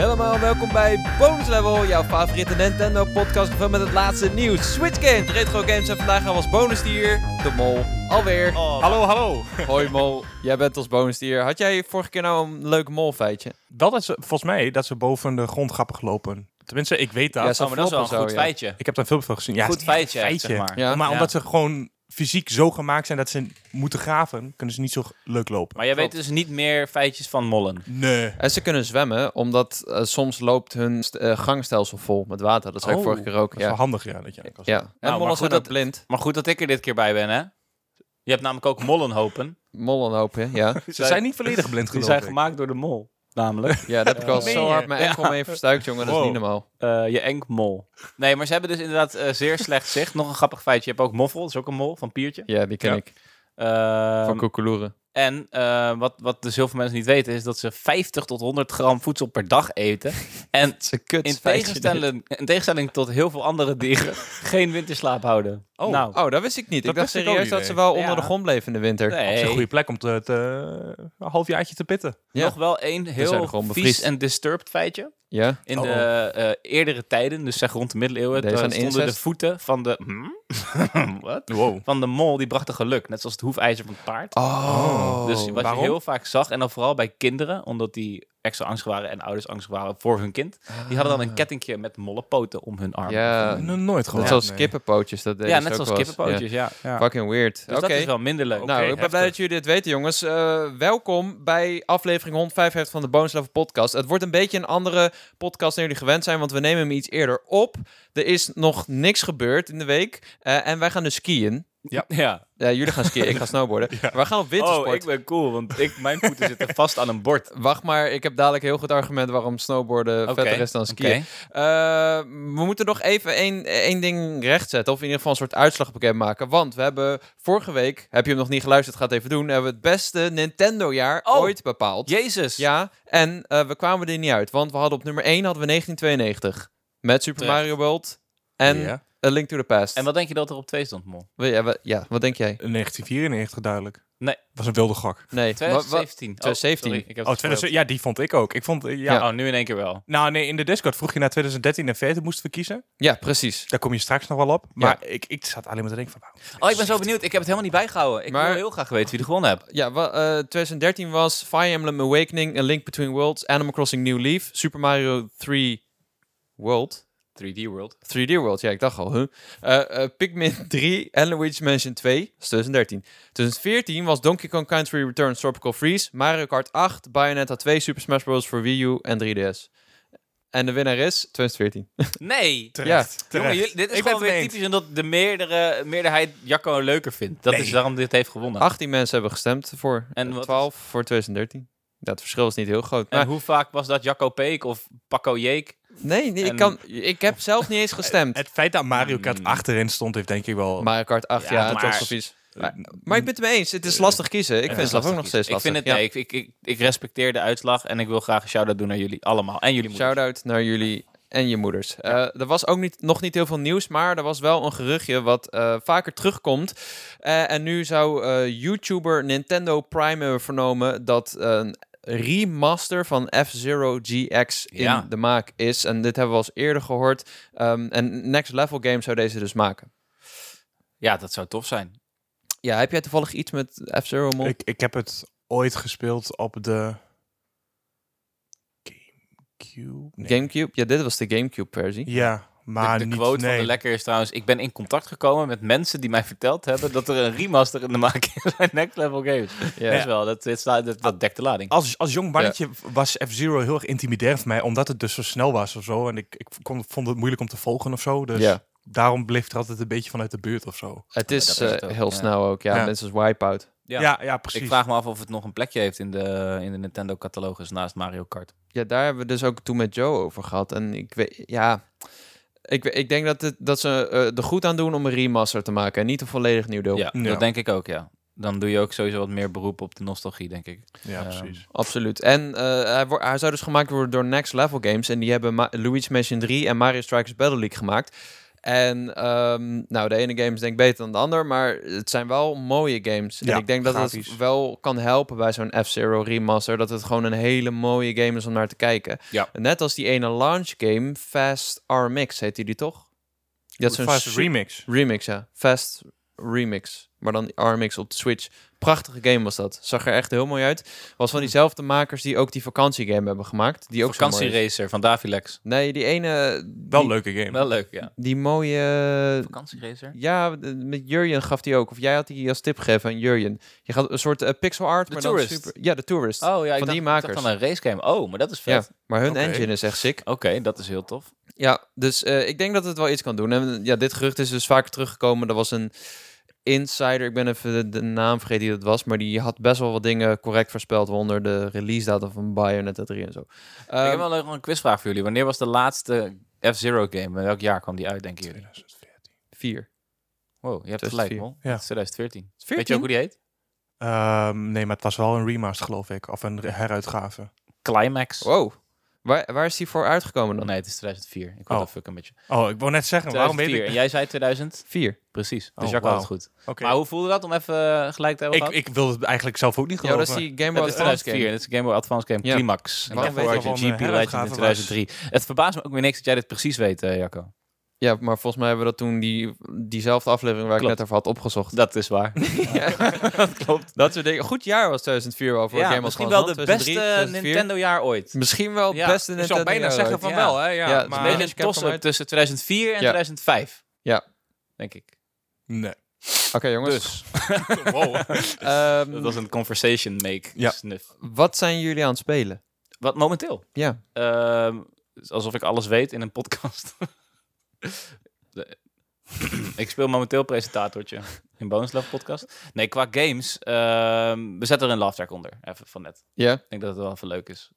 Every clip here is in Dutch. Helemaal welkom bij Bonus Level, jouw favoriete Nintendo podcast gevuld met het laatste nieuws. Switch Games, Retro Games en vandaag gaan we als bonusdier de mol alweer. Oh, hallo, hallo. Hoi mol, jij bent als bonusdier. Had jij vorige keer nou een leuk mol feitje? Dat is eh, volgens mij dat ze boven de grond grappig lopen. Tenminste, ik weet dat. Ja, ze- Oh, maar dat is wel een Floppen goed zo, ja. feitje. Ik heb daar veel van gezien. Ja, Goed het is echt feitje, echt, zeg maar. Ja. Maar Ja. omdat ze gewoon fysiek zo gemaakt zijn dat ze moeten graven, kunnen ze niet zo g- leuk lopen. Maar jij weet Klopt. dus niet meer feitjes van mollen. Nee. En ze kunnen zwemmen, omdat eh, soms loopt hun st- eh, gangstelsel vol met water. Dat zei ik Oh, vorige keer ook. Dat is wel Nou, Ja. handig, ja. Dat je eigenlijk al ja. zegt. en maar mollen goed zijn ook dat- blind. Maar goed dat ik er dit keer bij ben, hè? Je hebt namelijk ook mollenhopen. Mollen hopen, ja. Ze zijn niet volledig blind Die geloof zijn ik. gemaakt door de mol. Namelijk Ja, dat heb ik al Meen zo je? hard mijn enkel mee verstuikt, jongen. Dat is Wow. niet normaal. eh, je enkmol. Nee, maar ze hebben dus inderdaad eh, zeer slecht zicht. Nog een grappig feitje. Je hebt ook moffel, dat is ook een mol, van Piertje. Ja, die ken Ja. ik. Ehm, Van koekeloeren. en eh, wat, wat dus heel veel mensen niet weten, is dat ze 50 tot 100 gram voedsel per dag eten. En Ze kut in feitje, dit. tegenstelling, in tegenstelling tot heel veel andere dieren, geen winterslaap houden. Oh. nou, Oh, dat wist ik niet. Dat ik dacht wist ik ook serieus niet, dat ze nee. wel onder Ja. de grond bleven in de winter. Dat nee. is een goede plek om te, te- een halfjaartje te pitten. Ja. Nog wel één zijn heel gewoon vies bevriest. en disturbed feitje. Ja, In Oh. de eh, eerdere tijden, dus zeg rond de middeleeuwen, Deze eh, aan stonden incest? de voeten van de... Hmm? Wat? Wow. Van de mol, die brachten geluk. Net zoals het hoefijzer van het paard. Oh. dus wat waarom? je heel vaak zag, en dan vooral bij kinderen, omdat die extra angstig waren en ouders angstig waren voor hun kind. Die hadden dan een kettingje met mollepoten om hun arm. Ah. ja, Nog nooit gewoon. eh, net zoals kippenpootjes. Dat deden Ja, ze net ook zoals wel eens. kippenpootjes, ja. ja. Ja. Fucking weird. Dus Oké. dat is wel minder leuk. Oké, nou, ik ben blij heftig. dat jullie dit weten, jongens. Eh, welkom bij aflevering 155 van de Bonus Level podcast. Het wordt een beetje een andere podcast dan jullie gewend zijn, want we nemen hem iets eerder op. Er is nog niks gebeurd in de week eh, en wij gaan dus skiën. Ja. Eh, jullie gaan skiën, ik ga snowboarden. Maar we gaan op wintersport. Oh, ik ben cool, want ik, mijn voeten zitten vast aan een bord. Wacht maar, ik heb dadelijk een heel goed argument waarom snowboarden vetter is dan oké. skiën. Eh, we moeten nog even één, één ding rechtzetten. Of in ieder geval een soort uitslag bekendmaken. Want we hebben vorige week, heb je hem nog niet geluisterd, gaat even doen. Hebben we het beste Nintendo-jaar Oh. ooit bepaald. Jezus. Ja, en eh, we kwamen er niet uit. Want we hadden op nummer 1 hadden we 1992. Met Super Terecht. Mario World en Ja. A Link to the Past. En wat denk je dat er op twee stond, Mol? We- ja, we- ja, wat denk jij? 1994 duidelijk. Nee. was een wilde gok. Nee, wa- wa- 2017. Oh, 2017. sorry, ik heb Oh, het 2000, gespeeld. ja, die vond ik ook. Ik vond, eh, ja, Ja. Oh, nu in één keer wel. Nou nee, in de Discord vroeg je naar 2013 en 14 moesten we kiezen. ja, precies. Daar kom je straks nog wel op. Maar ik, ik zat alleen maar te denken van... Waarom? Oh, ik ben zo benieuwd. Ik heb het helemaal niet bijgehouden. Ik Maar- wil heel graag weten wie er gewonnen hebt. Ja, wa- eh, 2013 was Fire Emblem Awakening, A Link Between Worlds, Animal Crossing New Leaf, Super Mario 3 World. 3D World. 3D World, ja, ik dacht al. Huh? Eh, eh, Pikmin 3 en Luigi's Mansion 2, dat is 2013. 2014 was Donkey Kong Country Returns Tropical Freeze, Mario Kart 8, Bayonetta 2, Super Smash Bros. voor Wii U en 3DS. En de winnaar is 2014. Nee. Terecht. Jongen, jullie- dit is Ik gewoon ben het weer mee eens. typisch omdat de meerdere, meerderheid Jacco leuker vindt. Dat Nee. is waarom dit heeft gewonnen. 18 mensen hebben gestemd voor En en wat is- 12 voor 2013. Ja, het verschil is niet heel groot. en Maar hoe vaak was dat Jacco Peek of Paco Jeek? nee, nee ik, en- kan, ik heb zelf niet eens gestemd. Het feit dat Mario Kart Hmm. achterin stond, heeft denk ik wel... Mario Kart 8, ja, Ja, het maar- was advies. Maar, maar ik ben het mee eens. Het is lastig kiezen. Ik vind het zelf ook nog steeds Ik lastig. vind het, Ja. nee, ik, ik, ik, ik respecteer de uitslag en ik wil graag een shout-out doen naar jullie allemaal. En jullie moeten. Shout-out naar jullie en je moeders. Eh, er was ook niet, nog niet heel veel nieuws, maar er was wel een geruchtje wat eh, vaker terugkomt. Eh, en nu zou eh, YouTuber Nintendo Prime hebben vernomen dat een remaster van F-Zero GX in Ja. de maak is. En dit hebben we al eens eerder gehoord. Ehm, en Next Level Games zou deze dus maken. Ja, dat zou tof zijn. Ja, heb jij toevallig iets met F-Zero, Mon? Ik, ik heb het ooit gespeeld op de... Gamecube? Nee. Gamecube? Ja, dit was de Gamecube-versie. Ja, maar de, de niet... quote nee. van de lekker is trouwens: ik ben in contact gekomen met mensen die mij verteld hebben dat er een remaster in de maak is bij Next Level Games. Ja. Dat is wel, dat, dit staat- dat, dat dekt de lading. Als, als jong mannetje was F-Zero heel erg intimiderend voor mij, omdat het dus zo snel was of zo. En ik, ik kon- vond het moeilijk om te volgen of zo. Dus Ja. daarom bleef het altijd een beetje vanuit de buurt of zo. Het is, dat is het eh, ook, heel ja. snel ook, ja. Ja. Mensen als Wipeout. Ja. Ja, ja, precies. Ik vraag me af of het nog een plekje heeft in de, in de Nintendo-catalogus naast Mario Kart. Ja, daar hebben we dus ook toen met Joe over gehad. En ik weet, ja... Ik, we- ik denk dat, het, dat ze eh, er goed aan doen om een remaster te maken. En niet een volledig nieuw deel. Ja, Ja. dat denk ik ook, ja. Dan doe je ook sowieso wat meer beroep op de nostalgie, denk ik. Ja, Ehm, precies. Absoluut. En eh, hij, wordt hij zou dus gemaakt worden door Next Level Games. En die hebben Ma- Luigi's Mansion 3 en Mario Strikers Battle League gemaakt. En ehm, nou, de ene game is denk ik beter dan de ander, maar het zijn wel mooie games. Ja, en ik denk dat grafisch. het wel kan helpen bij zo'n F-Zero remaster, dat het gewoon een hele mooie game is om naar te kijken. Ja. Net als die ene launch game, Fast RMX heet die, die toch? Die had zo'n Fast super- Remix. Remix, ja. Fast Remix. Maar dan RMX op de Switch. Prachtige game was dat. Zag er echt heel mooi uit. Was van diezelfde makers die ook die vakantiegame hebben gemaakt. Die ook zo mooi is. Vakantieracer van Davilex. Nee, die ene... Wel die, leuke game. Wel leuk, ja. Die mooie... Vakantieracer? Ja, de- met Jurjen gaf die ook. Of jij had die als tip gegeven aan Jurjen. Je gaat een soort eh, pixel art, The maar Tourist. dan super... Ja, de Tourist. Oh ja, ik Van dacht, die Ik makers. dacht van een racegame. Oh, maar dat is vet. ja, maar hun Oké. engine is echt sick. Oké, dat is heel tof. Ja, dus eh, ik denk dat het wel iets kan doen. En eh, ja, dit gerucht is dus vaker teruggekomen. Er was een insider, ik ben even de, de naam vergeten die dat was, maar die had best wel wat dingen correct voorspeld onder de release datum van Bayonetta 3 en zo. ik Ehm, heb wel nog een quizvraag voor jullie. Wanneer was de laatste F-Zero game? En welk jaar kwam die uit, denken jullie? 2014. vier. Wow, je hebt het 2004. gelijk, Mol. Ja. Het is 2014. Weet je ook hoe die heet? Ehm, nee, maar het was wel een remaster, geloof ik. Of een heruitgave. Climax. Oh. Oh, Wow. Waar, waar is die voor uitgekomen dan? Nee, het is 2004. Ik wou Oh. dat fucken met je. Oh, ik wou net zeggen, waarom weet 2004. ik... En jij zei 2000? Vier. Precies. Dus Oh, Jacques wauw. had het goed. Oké. Maar hoe voelde dat om even eh, gelijk te hebben Ik, gehad? ik wilde het eigenlijk zelf ook niet Ja, geloven. dat is die Game Het Boy is Advance game. 2004. Dit is de Game Boy Advance Game Ja. Climax. En Waarom daarvoor weet je eh, had wel je een GP Legend in heruitgave was? 2003. Het verbaast me ook weer niks dat jij dit precies weet, eh, Jacco. Ja, maar volgens mij hebben we dat toen die, diezelfde aflevering waar Klopt. ik net over had opgezocht. Dat is waar. dat klopt. Dat soort dingen. Goed jaar was 2004 wel voor Game ja, of misschien wel Thrones, de man. beste 2003, 2004. Nintendo-jaar ooit. Misschien wel het Ja, beste Ik Nintendo. zou bijna jaar zeggen ooit. van Ja. wel, hè? Ja, Ja, het is Een maar... beetje Capcom een toss-up uit. tussen 2004 en Ja. 2005. Ja. Denk ik. Nee. Oké jongens, Dus, Wow. Ehm, dat was een conversation make Ja. snuff. wat zijn jullie aan het spelen? Wat momenteel? Ja. Ehm, het is alsof ik alles weet in een podcast. De- ik speel momenteel presentatortje in Bonus Love Podcast. Nee, qua games. ehm, we zetten er een love track onder, even van net. Ja? Ik denk dat het wel even leuk is.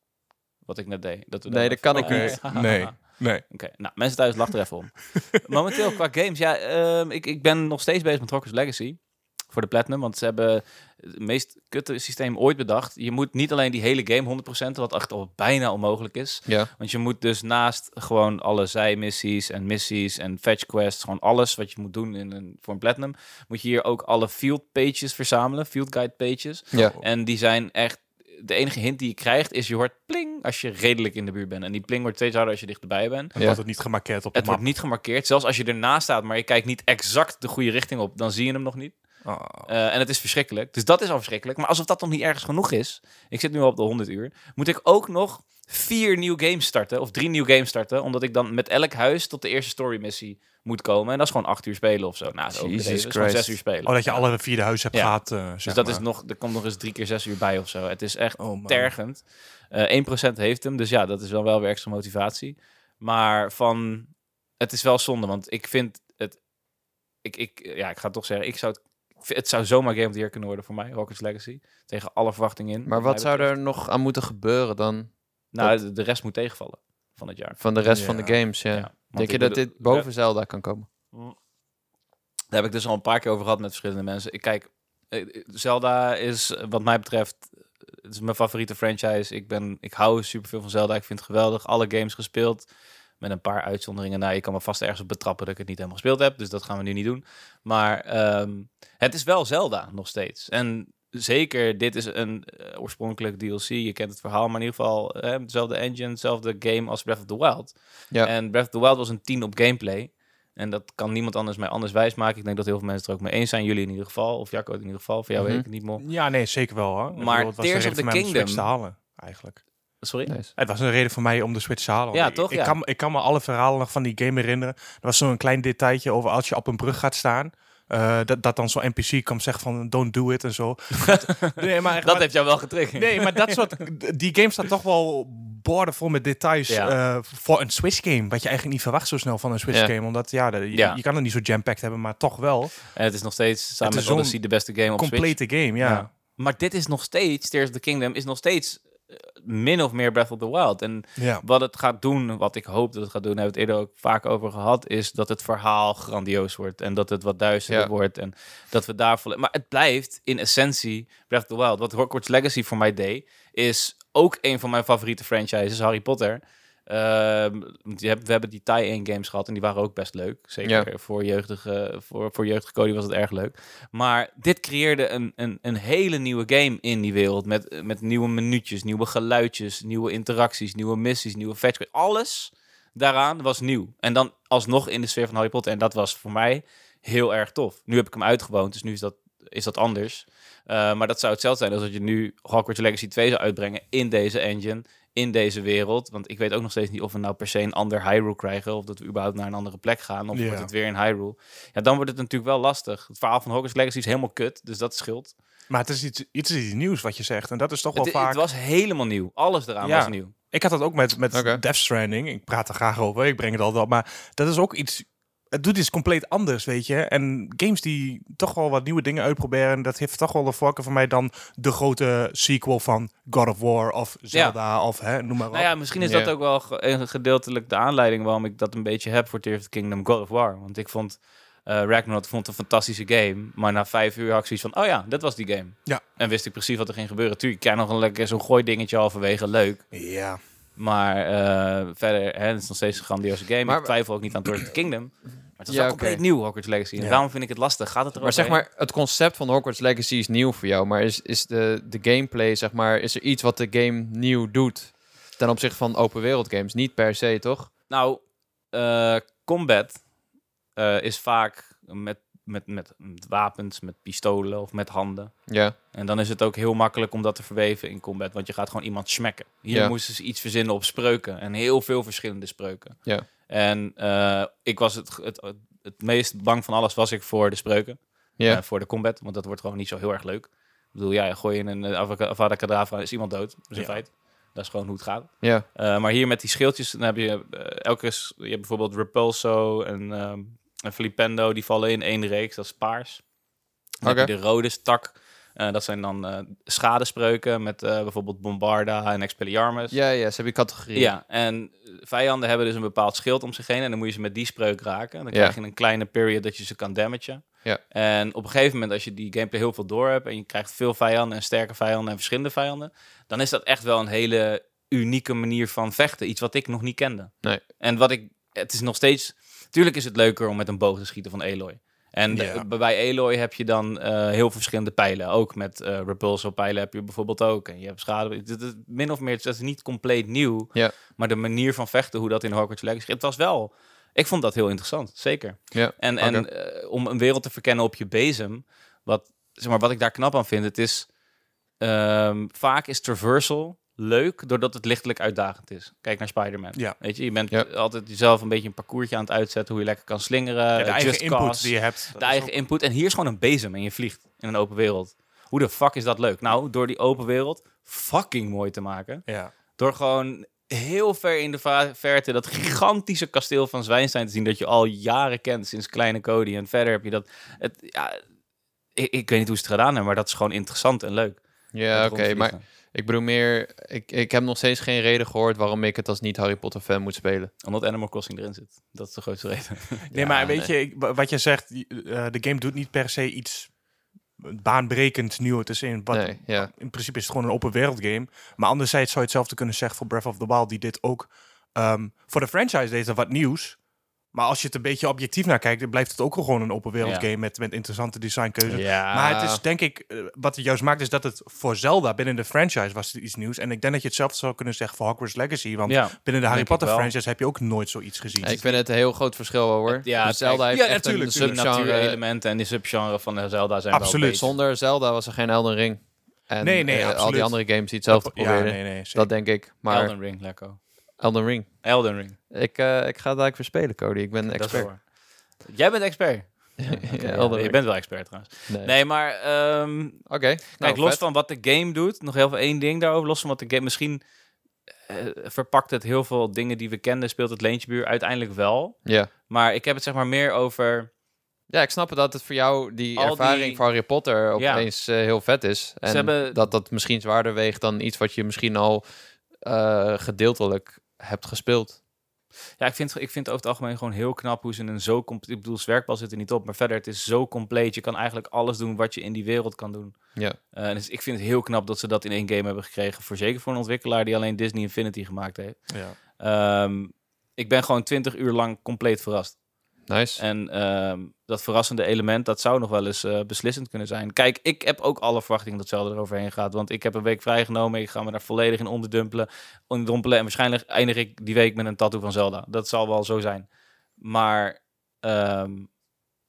Wat ik net deed. Dat we Nee, daar dat even- kan ik Oh, niet. ja. Nee. Nee. Oké, nou, mensen thuis lachen er even om. Momenteel qua games, ja, ehm, ik, ik ben nog steeds bezig met Rockers Legacy voor de Platinum, want ze hebben het meest kutte systeem ooit bedacht. Je moet niet alleen die hele game 100%, wat echt al bijna onmogelijk is, Ja. want je moet dus naast gewoon alle zijmissies en missies en fetch quests, gewoon alles wat je moet doen in een, voor een Platinum, moet je hier ook alle field pages verzamelen, field guide pages. Ja. En die zijn echt. De enige hint die je krijgt is je hoort pling als je redelijk in de buurt bent. En die pling wordt steeds harder als je dichterbij bent. Ja. Dan wordt het niet gemarkeerd op de Het wordt map. niet gemarkeerd. Zelfs als je ernaast staat, maar je kijkt niet exact de goede richting op, dan zie je hem nog niet. Oh. Eh, en het is verschrikkelijk. Dus dat is al verschrikkelijk. Maar alsof dat nog niet ergens genoeg is, ik zit nu al op de 100 uur, moet ik ook nog vier nieuwe games starten, of drie nieuwe games starten, omdat ik dan met elk huis tot de eerste story missie moet komen. En dat is gewoon acht uur spelen of zo. Nou, dat is Jesus overdreven. Dat is gewoon Christ. zes uur spelen. Oh, dat je alle vier de huizen hebt Ja. gehad, eh, dus zeg dat maar. is nog, er komt nog eens drie keer zes uur bij of zo. Het is echt Oh, man. tergend. Eh 1% heeft hem, dus ja, dat is wel wel weer extra motivatie. Maar van, het is wel zonde, want ik vind het, ik, ik, ja, ik ga het toch zeggen, ik zou het, ik vind- het zou zomaar Game of the Year kunnen worden voor mij, Rocket's Legacy. Tegen alle verwachtingen in. Maar wat mij zou betreft. er nog aan moeten gebeuren dan Nou, de, de rest moet tegenvallen van het jaar. van de rest van de Ja. games? Ja. Ja, want Denk je ik dat bedoel- dit boven Zelda kan komen? Daar heb ik dus al een paar keer over gehad met verschillende mensen. Ik kijk, eh, Zelda is eh, wat mij betreft eh, het is mijn favoriete franchise. Ik, ben, ik hou superveel van Zelda. Ik vind het geweldig. Alle games gespeeld. Met een paar uitzonderingen. Nou, je kan me vast ergens op betrappen dat ik het niet helemaal gespeeld heb. Dus dat gaan we nu niet doen. Maar ehm, het is wel Zelda nog steeds. En zeker, dit is een eh, oorspronkelijk DLC. Je kent het verhaal, maar in ieder geval eh, dezelfde engine, dezelfde game als Breath of the Wild. Ja. Eh, En Breath of the Wild was een 10 op gameplay. En dat kan niemand anders mij anders wijsmaken. Ik denk dat heel veel mensen het er ook mee eens zijn. Jullie in ieder geval, of Jacco in ieder geval. Voor jou Mhm. weet ik het niet, Mol. Ja, nee, zeker wel. Hoor. Maar Ik bedoel, het was de Tears of reden the voor mij om Kingdom- Switch te halen, eigenlijk. Sorry? Nice. Het was een reden voor mij om de Switch te halen. Ja, Ik- toch? Ik, Ja. kan, ik kan me alle verhalen nog van die game herinneren. Er was zo'n klein detailtje over als je op een brug gaat staan... eh, dat, dat dan zo'n NPC komt zeggen van don't do it en zo. nee, maar, echt, Dat maar- heeft jou wel getriggerd. nee, maar dat soort... Die game staat toch wel boordevol met details Ja. eh, voor een Switch game. Wat je eigenlijk niet verwacht zo snel van een Switch Ja. game. Omdat ja, de- je, Ja. je kan het niet zo jam-packed hebben, maar toch wel. En het is nog steeds samen Het met is Odyssey zo'n de beste game op Switch. Complete game, ja. Ja. Maar dit is nog steeds, Tears of the Kingdom, is nog steeds eh, min of meer Breath of the Wild. En ja. wat het gaat doen, wat ik hoop dat het gaat doen, daar hebben we het eerder ook vaak over gehad, is dat het verhaal grandioos wordt en dat het wat duisterder Ja. wordt en dat we daar volle- Maar het blijft in essentie Breath of the Wild. Wat Hogwarts Legacy voor mij deed, is ook een van mijn favoriete franchises, Harry Potter. Eh, Ehm, want je hebt, we hebben die tie-in games gehad en die waren ook best leuk. Zeker voor, jeugdige, voor, voor jeugdige Cody was het erg leuk. Maar dit creëerde een, een, een hele nieuwe game in die wereld. Met, met nieuwe minuutjes, nieuwe geluidjes, nieuwe interacties, nieuwe missies, nieuwe fetch. quests. Alles daaraan was nieuw. En dan alsnog in de sfeer van Harry Potter. En dat was voor mij heel erg tof. Nu heb ik hem uitgewoond, dus nu is dat, is dat anders. Eh, maar dat zou hetzelfde zijn als dat je nu Hogwarts Legacy 2 zou uitbrengen in deze engine, in deze wereld. Want ik weet ook nog steeds niet of we nou per se een ander Hyrule krijgen, of dat we überhaupt naar een andere plek gaan, of Ja. wordt het weer in Hyrule. Ja, dan wordt het natuurlijk wel lastig. Het verhaal van Hogwarts Legacy is helemaal kut, dus dat scheelt. Maar het is iets, iets, iets nieuws wat je zegt. En dat is toch wel Het, vaak... het was helemaal nieuw. Alles eraan Ja. was nieuw. Ik had dat ook met, met Oké. Death Stranding. Ik praat er graag over, ik breng het altijd op. Maar dat is ook iets... Het doet iets compleet anders, weet je. En games die toch wel wat nieuwe dingen uitproberen... dat heeft toch wel een voorkeur voor mij dan de grote sequel van God of War of Zelda of hè, noem maar op. Nou ja, misschien is Ja. dat ook wel ge- een gedeeltelijk de aanleiding waarom ik dat een beetje heb voor Tears of the Kingdom God of War. Want ik vond eh Ragnarok vond een fantastische game, maar na vijf uur had ik zoiets van, oh ja, dat was die game. Ja. En wist ik precies wat er ging gebeuren. Tuurlijk, ik krijg nog een lekker zo'n gooi dingetje halverwege, leuk. Ja. Maar eh, verder, hè, het is nog steeds een grandioze game. Maar- ik twijfel ook niet aan Tears of the Kingdom. Maar het is Ja, wel oké. compleet nieuw, Hogwarts Legacy. En Ja. daarom vind ik het lastig. Gaat het er Maar zeg maar, het concept van Hogwarts Legacy is nieuw voor jou. Maar is, is de, de gameplay, zeg maar, is er iets wat de game nieuw doet? Ten opzichte van open wereld games. Niet per se, toch? Nou, eh, combat eh, is vaak met, met, met wapens, met pistolen of met handen. Ja. En dan is het ook heel makkelijk om dat te verweven in combat, want je gaat gewoon iemand smekken. Hier Ja. moesten ze iets verzinnen op spreuken en heel veel verschillende spreuken. Ja. En eh, ik was het, het, het meest bang van alles was ik voor de spreuken, Ja. eh, voor de combat, want dat wordt gewoon niet zo heel erg leuk. Ik bedoel, ja, gooi je een eh, avocado- avada kedavra is iemand dood, dat is een Ja. feit. Dat is gewoon hoe het gaat. Ja. Eh, maar hier met die schildjes, dan heb je eh, elke s- je hebt bijvoorbeeld Repulso en, ehm en Flipendo, die vallen in één reeks, dat is paars. Dan heb Oké. je de rode stak, eh, dat zijn dan eh, schadespreuken met eh, bijvoorbeeld Bombarda en Expelliarmus. Ja, ja, ze hebben categorieën. Ja, en vijanden hebben dus een bepaald schild om zich heen. En dan moet je ze met die spreuk raken. En dan Ja. krijg je een kleine period dat je ze kan damagen. Ja. En op een gegeven moment, als je die gameplay heel veel door hebt... en je krijgt veel vijanden en sterke vijanden en verschillende vijanden... dan is dat echt wel een hele unieke manier van vechten. Iets wat ik nog niet kende. Nee. En wat ik... Het is nog steeds... Tuurlijk is het leuker om met een boog te schieten van Eloy. En de- Ja. bij Eloy heb je dan eh, heel veel verschillende pijlen. Ook met eh repulsor pijlen heb je bijvoorbeeld ook. En je hebt schade. Het- het- het- Min of meer, het is niet compleet nieuw. Ja. Maar de manier van vechten, hoe dat in Hogwarts Legacy... Het was wel... Ik vond dat heel interessant, zeker. Ja, En, oké. en eh, om een wereld te verkennen op je bezem... Wat, zeg maar, wat ik daar knap aan vind, het is... ehm, vaak is traversal leuk doordat het lichtelijk uitdagend is. Kijk naar Spider-Man. Ja. Weet je, je bent Ja. altijd jezelf een beetje een parcoursje aan het uitzetten... hoe je lekker kan slingeren. Ja, de eh, eigen just input cause die je hebt. de eigen input. En hier is gewoon een bezem en je vliegt in een open wereld. Hoe de fuck is dat leuk? Nou, door die open wereld fucking mooi te maken. Ja. Door gewoon heel ver in de va- verte dat gigantische kasteel van Zwijnstein te zien... dat je al jaren kent sinds Kleine Cody. En verder heb je dat... Het, ja, ik, ik weet niet hoe ze het gedaan hebben, maar dat is gewoon interessant en leuk. Ja, Dat oké. maar rondvliegen. ik bedoel meer... Ik, ik heb nog steeds geen reden gehoord waarom ik het als niet-Harry Potter fan moet spelen. Omdat Animal Crossing erin zit. Dat is de grootste reden. Nee, maar weet je, ik- wa- wat je zegt, die, eh, de game doet niet per se iets baanbrekend nieuw. Het is in, wat, Oh, Nee, ja. in principe is het gewoon een open wereld game. Maar anderzijds zou je hetzelfde kunnen zeggen voor Breath of the Wild, die dit ook ehm, voor de franchise deed dat wat nieuws. Maar als je het een beetje objectief naar kijkt, dan blijft het ook gewoon een open wereld Ja. game met, met interessante designkeuzes. ja. Maar het is denk ik, eh, wat het juist maakt, is dat het voor Zelda binnen de franchise was het iets nieuws. En ik denk dat je hetzelfde zou kunnen zeggen voor Hogwarts Legacy. Want Ja. binnen de Harry Denk ik Potter wel. franchise heb je ook nooit zoiets gezien. Ik vind het een heel groot verschil wel, hoor. Ja, Dus Zelda heeft ja, echt natuurlijk. een natuurlijk. subgenre. Natuurelementen en die subgenre van eh, Zelda zijn Absoluut. wel beter. Zonder Zelda was er geen Elden Ring. En Nee, nee, eh, al absoluut. die andere games die hetzelfde ja, proberen. nee, nee. zeker. Dat denk ik. Maar Elden, Elden Ring, lekker. Ring. Elden Ring. Ik, eh, ik ga het eigenlijk weer spelen, Cody. Ik ben Dat is expert. waar. Jij bent expert. Oké, Ja, ja, Elden je Ring. bent wel expert trouwens. Nee. Nee, maar ehm, Oké. kijk, nou, los vet. van wat de game doet, nog heel veel één ding daarover. Los van wat de game misschien eh, verpakt het heel veel dingen die we kenden, speelt het Leentjebuur uiteindelijk wel. Ja. Maar ik heb het zeg maar meer over. Ja, ik snap het dat het voor jou die Al die- ervaring van Harry Potter Ja. opeens eh, heel vet is. En hebben- dat dat misschien zwaarder weegt dan iets wat je misschien al eh, gedeeltelijk hebt gespeeld. Ja, ik vind, ik vind het over het algemeen gewoon heel knap hoe ze een zo compleet. Ik bedoel, zwerkbal zit er niet op, maar verder, het is zo compleet. Je kan eigenlijk alles doen wat je in die wereld kan doen. Ja. Eh, dus ik vind het heel knap dat ze dat in één game hebben gekregen. Voor zeker voor een ontwikkelaar die alleen Disney Infinity gemaakt heeft. Ja. Ehm, ik ben gewoon 20 uur lang compleet verrast. Nice. En ehm, dat verrassende element, dat zou nog wel eens eh, beslissend kunnen zijn. Kijk, ik heb ook alle verwachtingen dat Zelda eroverheen gaat. Want ik heb een week vrijgenomen. Ik ga me daar volledig in onderdumpelen. onderdompelen. En waarschijnlijk eindig ik die week met een tattoo van Zelda. Dat zal wel zo zijn. Maar ehm,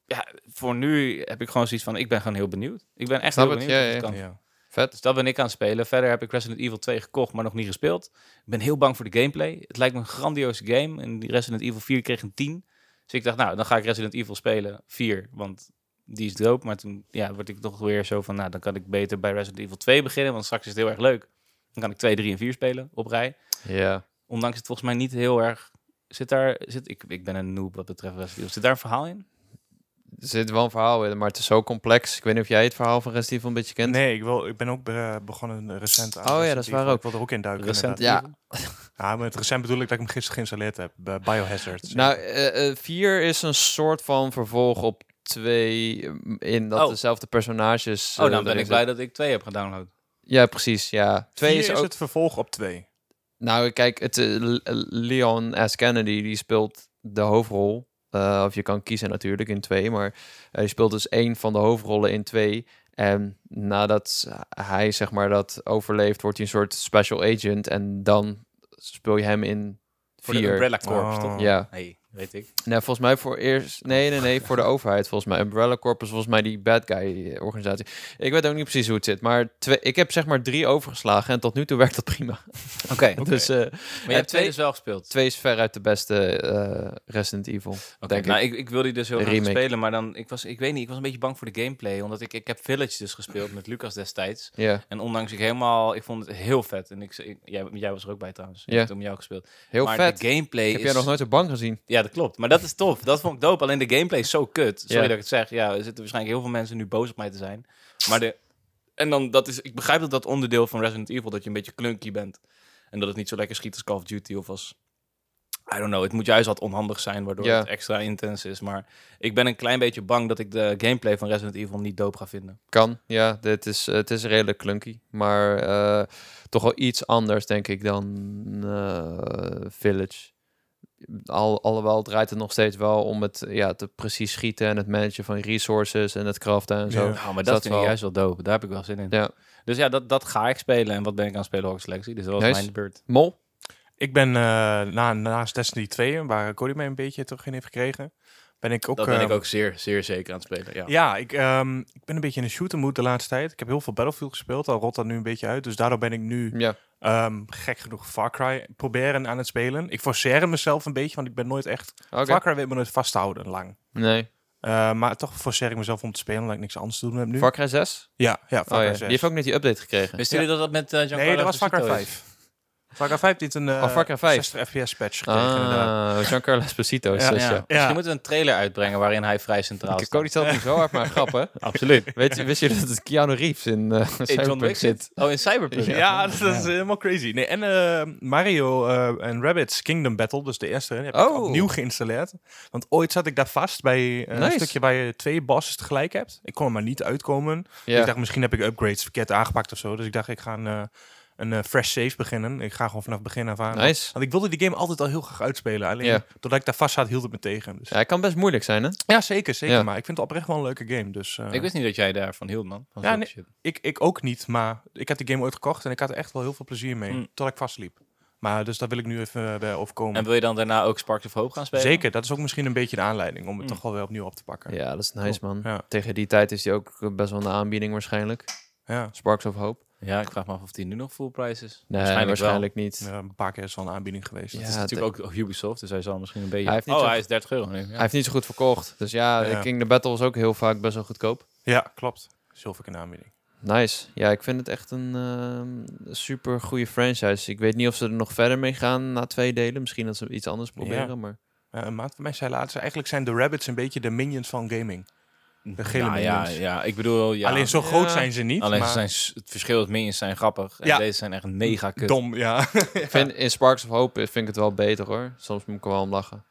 ja, voor nu heb ik gewoon zoiets van... Ik ben gewoon heel benieuwd. Ik ben echt Snap heel het, benieuwd ja, of het ja. kan. Ja. Vet. Dus dat ben ik aan het spelen. Verder heb ik Resident Evil 2 gekocht, maar nog niet gespeeld. Ik ben heel bang voor de gameplay. Het lijkt me een grandioze game. En die Resident Evil 4 kreeg een 10. Dus ik dacht, nou, dan ga ik Resident Evil spelen 4, want die is dope. Maar toen ja, word ik toch weer zo van, nou, dan kan ik beter bij Resident Evil 2 beginnen, want straks is het heel erg leuk. Dan kan ik 2, 3 en 4 spelen op rij. Ja. Ondanks het volgens mij niet heel erg... Zit daar... Zit, ik, ik ben een noob wat betreft Resident Evil. Zit daar een verhaal in? Er zit wel een verhaal in, maar het is zo complex. Ik weet niet of jij het verhaal van Resident Evil een beetje kent. Nee, ik, wil, ik ben ook be- begonnen recent aan. Oh ja, dat is Resident waar Evil. ook. Ik wil er ook in duiken. Recent inderdaad. Ja. Evil? Ja, met recent bedoel ik dat ik hem gisteren geïnstalleerd heb. Bij Biohazard. Nou, 4 is een soort van vervolg op 2 in dat Oh. dezelfde personages... Oh, eh, dan ben erin ik blij zitten. dat ik 2 heb gedownload. Ja, precies, ja. 2 Vier is ook... het vervolg op twee. Nou, kijk, het, eh, Le- Leon S. Kennedy die speelt de hoofdrol. Eh, of je kan kiezen natuurlijk in twee, maar hij speelt dus één van de hoofdrollen in twee. En nadat hij zeg maar dat overleeft, wordt hij een soort special agent. En dan speel je hem in Voor de vier. Umbrella Corps, Oh. toch? Ja, Nee, weet ik. nou, volgens mij voor eerst. Nee, nee, nee, voor de overheid volgens mij. Umbrella Corp is volgens mij die bad guy eh, organisatie. Ik weet ook niet precies hoe het zit, maar twee, ik heb zeg maar drie overgeslagen en tot nu toe werkt dat prima. Oké. Dus eh, Maar je hebt twee dus wel gespeeld. Twee is veruit de beste eh, Resident Evil. Oké, denk nou, ik. Ik, wil die dus heel De graag remake. spelen, maar dan, ik was, ik weet niet, ik was een beetje bang voor de gameplay, omdat ik, ik heb Village dus gespeeld met Lucas destijds. Ja, En ondanks ik helemaal, ik vond het heel vet. En ik, ik- jij, jij was er ook bij trouwens, ik Ja. heb het om jou gespeeld. heel maar vet. de gameplay Ik heb is... jij nog nooit op bank gezien. Ja, dat klopt. Maar dat is tof. Dat vond ik dope. Alleen de gameplay is zo kut. Sorry Ja. dat ik het zeg. Ja, er zitten waarschijnlijk heel veel mensen nu boos op mij te zijn. Maar de... En dan, dat is... Ik begrijp dat dat onderdeel van Resident Evil, dat je een beetje clunky bent. En dat het niet zo lekker schiet als Call of Duty of als... I don't know. Het moet juist wat onhandig zijn, waardoor Ja. het extra intens is. Maar ik ben een klein beetje bang dat ik de gameplay van Resident Evil niet dope ga vinden. Kan, ja. Dit is, eh, het is redelijk clunky. Maar eh, toch wel iets anders, denk ik, dan eh, Village. Al, alhoewel draait het nog steeds wel om het, ja, het precies schieten en het managen van resources en het craften en zo. Ja. Nou, maar dat, dat vind wel. ik juist wel dope. Daar heb ik wel zin in. Ja. Dus ja, dat, dat ga ik spelen. En wat ben ik aan het spelen? Hogwarts Legacy. Dus dat was Nice. mijn beurt. Mol? Ik ben eh, na, naast Destiny 2, waar Cody mij een beetje terug in heeft gekregen, ben ik ook... dat ben eh, ik ook zeer, zeer zeker aan het spelen. Ja. Ja, ik, ehm, ik ben een beetje in een shooter mood de laatste tijd. Ik heb heel veel Battlefield gespeeld, al rot dat nu een beetje uit. Dus daardoor ben ik nu Ja. ehm, gek genoeg Far Cry proberen aan het spelen. Ik forceer mezelf een beetje, want ik ben nooit echt... Oké. Far Cry weet me nooit vasthouden lang. Nee. Eh, maar toch forceer ik mezelf om te spelen, omdat ik niks anders te doen heb nu. Far Cry 6? Ja, ja, Oh, Far ja. Cry Die 6. heeft ook net die update gekregen. Wisten jullie dat dat met eh Giancarlo Nee, dat was Far Cry Esposito is? 5. Far Cry 5 heeft een eh, Oh, Far Cry 5. 60 FPS patch gekregen inderdaad. Ah, Giancarlo Esposito. is Ja, dat, Ja. ja. Misschien moeten we een trailer uitbrengen waarin hij vrij centraal Kijk, staat. Cody stelt niet zo hard, maar grappig. Absoluut. Weet je, wist je dat het Keanu Reeves in eh In John Cyberpunk Wick zit? zit. Oh, in Cyberpunk. Ja, dat is helemaal crazy. Nee, en eh, Mario eh, en Rabbids Kingdom Battle, dus de eerste, die heb ik Oh. opnieuw geïnstalleerd. Want ooit zat ik daar vast bij eh, een Nice. stukje waar je twee bosses tegelijk hebt. Ik kon er maar niet uitkomen. Dus Ja. Ik dacht, misschien heb ik upgrades verkeerd aangepakt of zo. Dus ik dacht, ik ga een, eh, een eh, fresh save beginnen. Ik ga gewoon vanaf begin af aan. Nice. Want ik wilde die game altijd al heel graag uitspelen. Alleen Ja. doordat ik daar vast zat, hield het me tegen. Dus. Ja, hij kan best moeilijk zijn, hè? Ja, zeker, zeker. Ja. Maar ik vind het oprecht wel een leuke game. Dus, eh, Ik wist niet dat jij daarvan hield, man. Van Ja, zulke nee. shit. ik, ik ook niet, maar ik heb die game ooit gekocht en ik had er echt wel heel veel plezier mee. Hmm. Mm. Tot ik vastliep. Maar dus daar wil ik nu even eh, bij overkomen. En wil je dan daarna ook Sparks of Hope gaan spelen? Zeker, dat is ook misschien een beetje de aanleiding om het Mm. toch wel weer opnieuw op te pakken. Hmm. Ja, dat is nice, man. Ja. Tegen die tijd is hij ook eh, best wel een aanbieding waarschijnlijk. Ja. Sparks of Hope. Ja, ik vraag me af of die nu nog full price is. Nee, Waarschijnlijk waarschijnlijk, wel. niet. Ja, een paar keer is wel een aanbieding geweest. Ja, Het is natuurlijk ook Ubisoft, dus hij zal misschien een beetje... Hij heeft niet oh, zo- hij is 30 euro nu. Ja. Hij heeft niet zo goed verkocht. Dus ja, Ja. King the Battle is ook heel vaak best wel goedkoop. Ja, klopt. Zilver een aanbieding. Nice. Ja, ik vind het echt een ehm super goede franchise. Ik weet niet of ze er nog verder mee gaan na twee delen. Misschien dat ze iets anders proberen, maar... Ja, Eh, een maat van mij zei laatst, eigenlijk zijn de rabbits een beetje de minions van gaming. De gele Nou ja, minions. ja, ik bedoel... Ja. Alleen zo Ja. groot zijn ze niet, Alleen maar ze zijn, s- het verschil is minions zijn grappig. En Ja. deze zijn echt mega kut. dom, ja. Ik vind, in Sparks of Hope vind ik het wel beter, hoor. Soms moet ik er wel om lachen.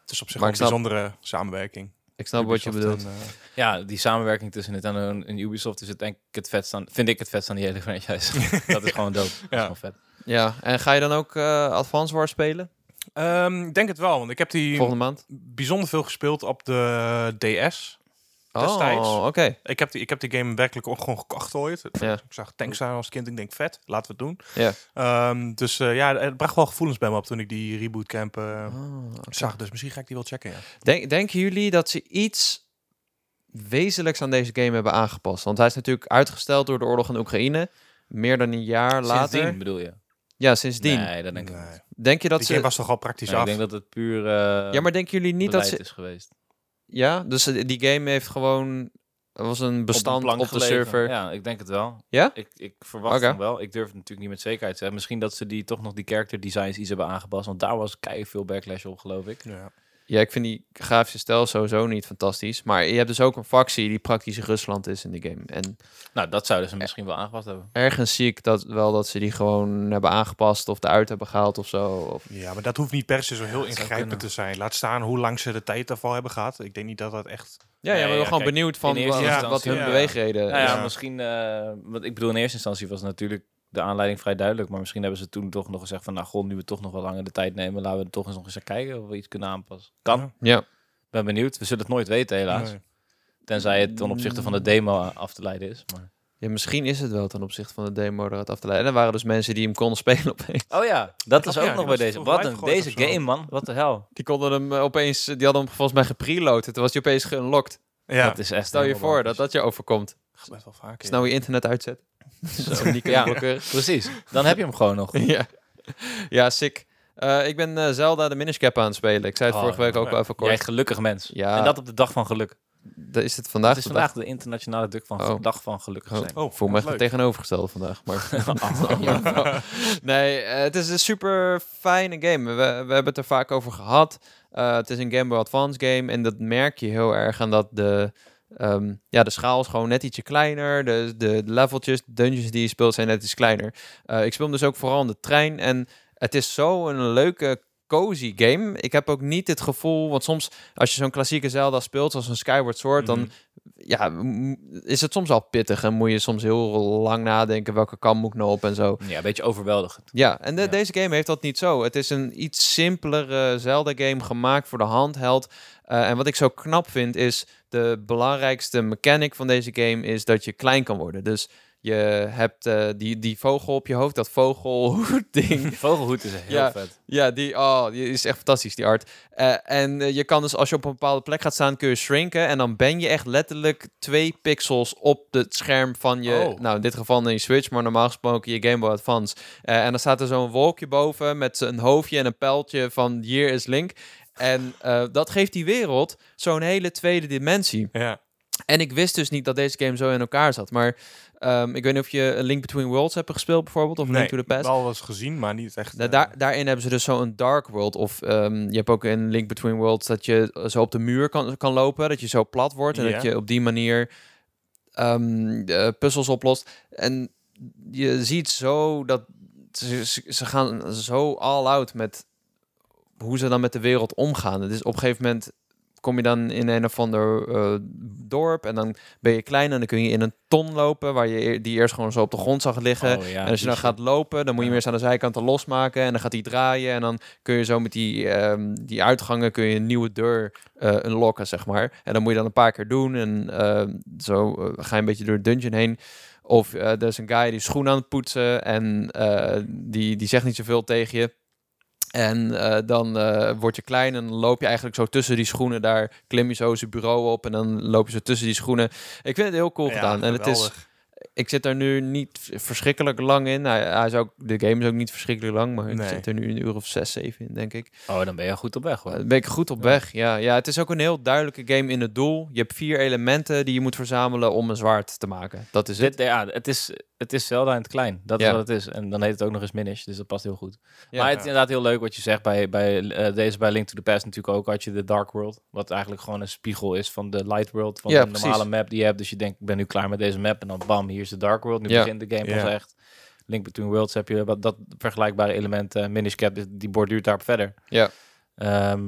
het is op Maar zich wel ik een snap- bijzondere samenwerking. Ik snap wat je Ubisoft bedoelt. en, eh, Ja, die samenwerking tussen Nintendo en en Ubisoft is het denk ik het vetst aan, vind ik het vetst aan die hele franchise. dat is gewoon dope. Dat is gewoon vet. Ja, en ga je dan ook eh Advance Wars spelen Ehm, ik denk het wel, want ik heb die volgende maand? bijzonder veel gespeeld op de DS. destijds. Oh, oké. Ik heb, die, ik heb die game werkelijk ook gewoon gekocht ooit. Ja. Ik zag tanks staan als kind. Ik denk, vet, laten we het doen. Ja. Ehm, dus eh, ja, het bracht wel gevoelens bij me op toen ik die reboot camp eh, Oh, oké. zag. Dus misschien ga ik die wel checken, ja. Denk, denken jullie dat ze iets wezenlijks aan deze game hebben aangepast? Want hij is natuurlijk uitgesteld door de oorlog in Oekraïne. Meer dan een jaar later. Sindsdien bedoel je? Ja, sindsdien. Nee, dat denk ik Nee. niet. Denk je dat die ze... game was toch al praktisch Nee, ik af? denk dat het puur eh Ja, maar denken jullie niet dat beleid ze... is geweest. Ja, dus eh, die game heeft gewoon... Er was een bestand op, plank de gelegen. server. Ja, ik denk het wel. Ja? Ik, ik verwacht Oké. van wel. Ik durf het natuurlijk niet met zekerheid te zeggen. Misschien dat ze die toch nog die character designs iets hebben aangepast. Want daar was keihard veel backlash op, geloof ik. Ja. Ja, ik vind die grafische stijl sowieso niet fantastisch. Maar je hebt dus ook een factie die praktisch Rusland is in de game. En Nou, dat zouden ze misschien wel aangepast hebben. ergens zie ik dat wel dat ze die gewoon hebben aangepast of eruit hebben gehaald of zo. Of... ja, maar dat hoeft niet per se zo heel zou kunnen. ingrijpend te zijn. Laat staan hoe lang ze de tijd daarvoor hebben gehad. Ik denk niet dat dat echt... Ja, ja, Nee, maar we ja, gewoon kijk, benieuwd van in wa- eerste wat, instantie, hun ja. beweegreden Nou ja, Ja. misschien... eh, want ik bedoel, in eerste instantie was natuurlijk de aanleiding vrij duidelijk. Maar misschien hebben ze toen toch nog gezegd van... Nou, god, nu we toch nog wel langer de tijd nemen... laten we toch eens nog eens gaan kijken of we iets kunnen aanpassen. Kan. Ja. Ja. Ben benieuwd. We zullen het nooit weten, helaas. Nee. Tenzij het ten opzichte van de demo af te leiden is. Maar... Ja, misschien is het wel ten opzichte van de demo eruit af te leiden. En er waren dus mensen die hem konden spelen opeens. Oh ja, dat was was Ja, ook ook die nog nog bij bij was deze. deze. Wat een volgens mij Wat een- gegooid deze deze of zo. game, game, man. Wat de hel. Die konden hem eh, opeens, die hadden hem volgens mij gepreloaded. Toen was hij opeens geunlocked. Ja, Dat is echt Stel je helemaal voor dat bonkers. dat je overkomt. gebeurt wel vaak. Snel je internet uitzet. Zo, die Ja. kunnen blokkeren. Precies. Dan heb je hem gewoon nog. ja. ja, sick. Eh, ik ben eh, Zelda de Minish Cap aan het spelen. Ik zei het Oh, vorige week ook ja. wel even Jij kort. gelukkig mens. Ja. En dat op de dag van geluk. Dat is het Het vandaag. is de dag. vandaag de internationale dag van, Oh. dag van gelukkig Oh. zijn. Oh, Voel me wat echt het leuk. tegenovergestelde vandaag. Maar... nee, eh, het is een super fijne game. We, we hebben het er vaak over gehad. Eh, het is een Game Boy Advance game en dat merk je heel erg aan dat de, ehm, ja, de schaal is gewoon net ietsje kleiner. De, de leveltjes, dungeons die je speelt zijn net iets kleiner. Eh, ik speel hem dus ook vooral in de trein en het is zo'n leuke cozy game. Ik heb ook niet het gevoel, want soms als je zo'n klassieke Zelda speelt, zoals een Skyward Sword, dan ja, m- is het soms al pittig en moet je soms heel lang nadenken welke kant moet ik nou op en zo. Ja, een beetje overweldigend. Ja, en de- Ja. deze game heeft dat niet zo. Het is een iets simpelere Zelda-game gemaakt voor de handheld. Eh, en wat ik zo knap vind is, de belangrijkste mechanic van deze game is dat je klein kan worden. Dus je hebt eh, die, die vogel op je hoofd, dat vogelhoed-ding. Vogelhoed is heel Ja. vet. Ja, die, oh, die is echt fantastisch, die art. Eh, en eh, je kan dus, als je op een bepaalde plek gaat staan, kun je shrinken. En dan ben je echt letterlijk twee pixels op het scherm van je, Oh. nou in dit geval dan je Switch, maar normaal gesproken je Game Boy Advance. Eh, en dan staat er zo'n wolkje boven met een hoofdje en een pijltje van hier is Link. En eh, dat geeft die wereld zo'n hele tweede dimensie. Ja. En ik wist dus niet dat deze game zo in elkaar zat. Maar ehm, ik weet niet of je A Link Between Worlds hebt gespeeld bijvoorbeeld, of Nee, Link to the Past. wel eens gezien, maar niet echt... Nou, eh, daar, daarin hebben ze dus zo'n dark world. Of ehm, je hebt ook in Link Between Worlds dat je eh, zo op de muur kan, kan lopen. Dat je zo plat wordt. En dat Ja. je op die manier ehm, de puzzels oplost. En je ziet zo dat ze, ze- ze gaan zo all out met hoe ze dan met de wereld omgaan. Het is op een gegeven moment kom je dan in een of ander eh, dorp en dan ben je klein en dan kun je in een ton lopen waar je e- die eerst gewoon zo op de grond zag liggen. Oh, ja, eh, En als je die dan gaat lopen, dan moet je hem Ja. eerst aan de zijkanten losmaken. En dan gaat hij draaien. En dan kun je zo met die, ehm, die uitgangen kun je een nieuwe deur eh unlocken, zeg maar. En dan moet je dan een paar keer doen. En ehm, zo eh, ga je een beetje door de dungeon heen. Of eh, er is een guy die schoen aan het poetsen. En eh, die, die zegt niet zoveel tegen je. En eh, dan eh, word je klein en dan loop je eigenlijk zo tussen die schoenen. Daar klim je zo zijn bureau op en dan loop je zo tussen die schoenen. Ik vind het heel cool ja, gedaan. En het is, geweldig. ik zit er nu niet v- verschrikkelijk lang in. Hij, hij is ook, de game is ook niet verschrikkelijk lang, maar ik Nee. zit er nu een uur of zes, zeven in, denk ik. Oh, dan ben je goed op weg hoor. Daar ben ik goed op weg, ja. ja. Het is ook een heel duidelijke game in het doel. Je hebt vier elementen die je moet verzamelen om een zwaard te maken. Dat is het. Dit, ja, het is, het is Zelda in het klein. Dat Ja. is wat het is. En dan heet het ook nog eens Minish, dus dat past heel goed. Ja. maar het is inderdaad heel leuk wat je zegt. Bij, bij eh, deze, bij Link to the Past natuurlijk ook, had je de Dark World. Wat eigenlijk gewoon een spiegel is van de Light World. Van Ja, de normale precies. map die je hebt. Dus je denkt, ik ben nu klaar met deze map. En dan bam, hier is de Dark World. Nu Ja. begint de game Ja. pas echt. Link Between Worlds heb je wat, dat vergelijkbare element. eh Minish Cap, die borduurt daarop verder. Ja. Ehm,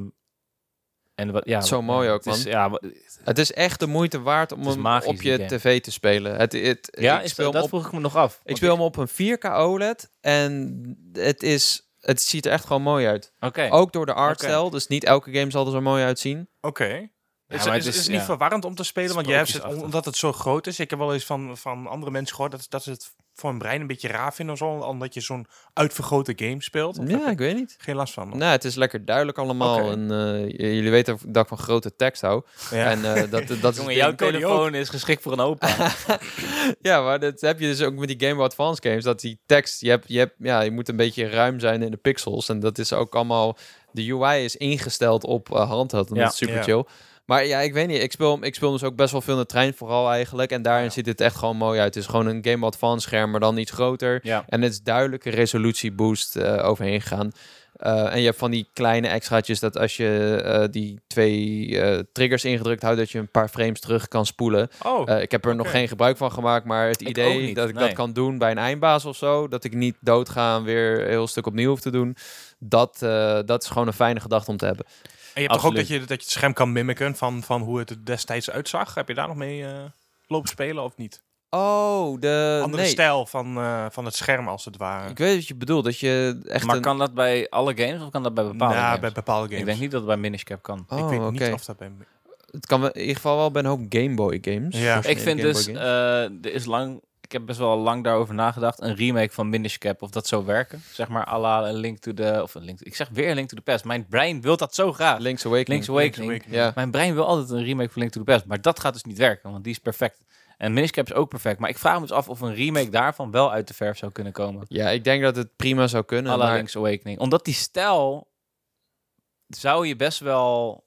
En wat, ja, Zo wat- mooi ja, ook, het is- man. ja, maar- Het is echt de moeite waard om is hem magisch, op die je game. tv te spelen. Het, het, ja ik is, speel dat hem op, vroeg ik me nog af. ik Want speel hem op een 4K OLED E en het, is, het ziet er echt gewoon mooi uit. Oké. Ook door de artstyle, dus niet elke game zal er zo mooi uitzien. Oké. is, maar is, het is- is het niet ja. verwarrend om te spelen? Want jij hebt het, Sprookjesachtig. omdat het zo groot is. Ik heb wel eens van, van andere mensen gehoord dat, dat ze het voor hun brein een beetje raar vinden of zo. Omdat je zo'n uitvergrote game speelt. Of heb Ja, je ik weet niet. Geen last van. Nou, het is lekker duidelijk allemaal. Oké. En, eh, j- jullie weten dat ik van grote tekst hou. Ja. En eh, dat, dat is het Jongen, ding. jouw telefoon is geschikt voor een opa. Ja, maar dat heb je dus ook met die Game Boy Advance games. Dat die tekst, je, hebt, je, hebt, ja, je moet een beetje ruim zijn in de pixels. En dat is ook allemaal... De UI is ingesteld op eh, handheld. En Ja. dat is super Ja. chill. Maar ja, ik weet niet. Ik speel, hem- ik speel hem dus ook best wel veel in de trein vooral eigenlijk. En daarin Ja. ziet het echt gewoon mooi uit. Het is gewoon een Game Boy Advance scherm, maar dan iets groter. ja. En het is duidelijk een resolutieboost eh, overheen gegaan. Eh, en je hebt van die kleine extraatjes dat als je eh, die twee eh, triggers ingedrukt houdt, dat je een paar frames terug kan spoelen. Oh, Eh, ik heb er nog Oké. geen gebruik van gemaakt, maar het Ik idee ook niet, dat ik dat nee. kan doen bij een eindbaas of zo, dat ik niet doodga en weer een heel stuk opnieuw hoef te doen, dat, eh, dat is gewoon een fijne gedachte om te hebben. en je hebt toch ook absoluut. dat je, dat je het scherm kan mimiken van, van hoe het er destijds uitzag. Heb je daar nog mee eh, lopen spelen of niet? Oh, de. Andere nee. stijl van, eh, van het scherm als het ware. Ik weet wat je bedoelt, dat je echt. Maar een... kan dat bij alle games of kan dat bij bepaalde ja, games? Nou, bij bepaalde games. Ik denk niet dat het bij Minish Cap kan. Oh, Ik weet niet oké. of dat bij... Het kan wel- in ieder geval wel bij een hoop Game Boy games. Ja. Originele Ik vind Game dus, Boy eh, games. er is lang, ik heb best wel lang daarover nagedacht, een remake van Minish Cap, of dat zou werken. Zeg maar à la een Link to the, of een Link, ik zeg weer een Link to the Past. Mijn brein wil dat zo graag. Link's Awakening. eh, Link's Link's Awakening. Awakening. Ja. Mijn brein wil altijd een remake van Link to the Past, maar dat gaat dus niet werken, want die is perfect. En Minish Cap is ook perfect, maar ik vraag me dus af of een remake daarvan wel uit de verf zou kunnen komen. ja, ik denk dat het prima zou kunnen. à la maar- Link's Awakening. Omdat die stijl zou je best wel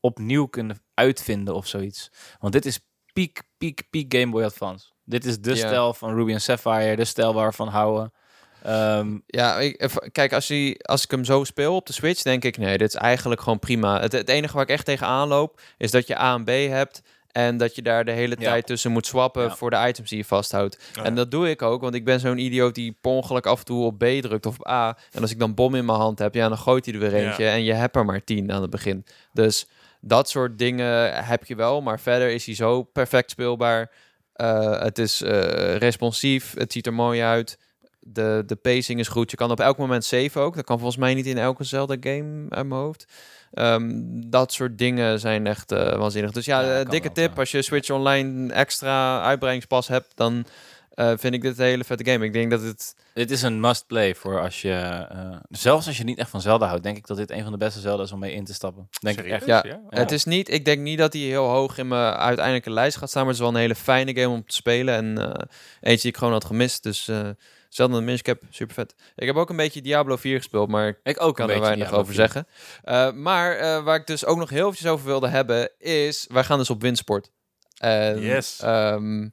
opnieuw kunnen uitvinden of zoiets. Want dit is piek, piek, piek Game Boy Advance. Dit is de Ja. stijl van Ruby en Sapphire, de stijl waarvan houden. Ehm, Ja, ik, eh, v- kijk, als, hij, als ik hem zo speel op de Switch, denk ik, nee, dit is eigenlijk gewoon prima. Het, het enige waar ik echt tegenaan loop, is dat je A en B hebt. En dat je daar de hele Ja. tijd tussen moet swappen Ja. voor de items die je vasthoudt. ja. En dat doe ik ook, want ik ben zo'n idioot die per ongeluk af en toe op B drukt of op A. En als ik dan bom in mijn hand heb, ja, dan gooit hij er weer Ja. eentje. En je hebt er maar tien aan het begin. Dus dat soort dingen heb je wel. Maar verder is hij zo perfect speelbaar. Eh, het is eh, responsief. Het ziet er mooi uit. De, de pacing is goed. Je kan op elk moment save ook. Dat kan volgens mij niet in elke Zelda-game uit mijn hoofd. Ehm, dat soort dingen zijn echt eh, waanzinnig. Dus ja, Ja, eh, kan dikke wel, tip. ja. Als je Switch Online extra uitbreidingspas hebt, dan eh, vind ik dit een hele vette game. Ik denk dat het... dit is een must-play voor als je... eh, zelfs als je niet echt van Zelda houdt, denk ik dat dit een van de beste Zelda's is om mee in te stappen. Denk ik Serieus? Ja, echt. Ja. Het is niet, ik denk niet dat hij heel hoog in mijn uiteindelijke lijst gaat staan, maar het is wel een hele fijne game om te spelen en eh, eentje die ik gewoon had gemist. Dus eh zelden een minscap, super vet. Ik heb ook een beetje Diablo 4 gespeeld, maar ik Ik ook kan een er beetje, weinig ja, over dat- zeggen. Eh, maar eh, waar ik dus ook nog heel eventjes over wilde hebben is, wij gaan dus op windsport. En, Yes. ehm,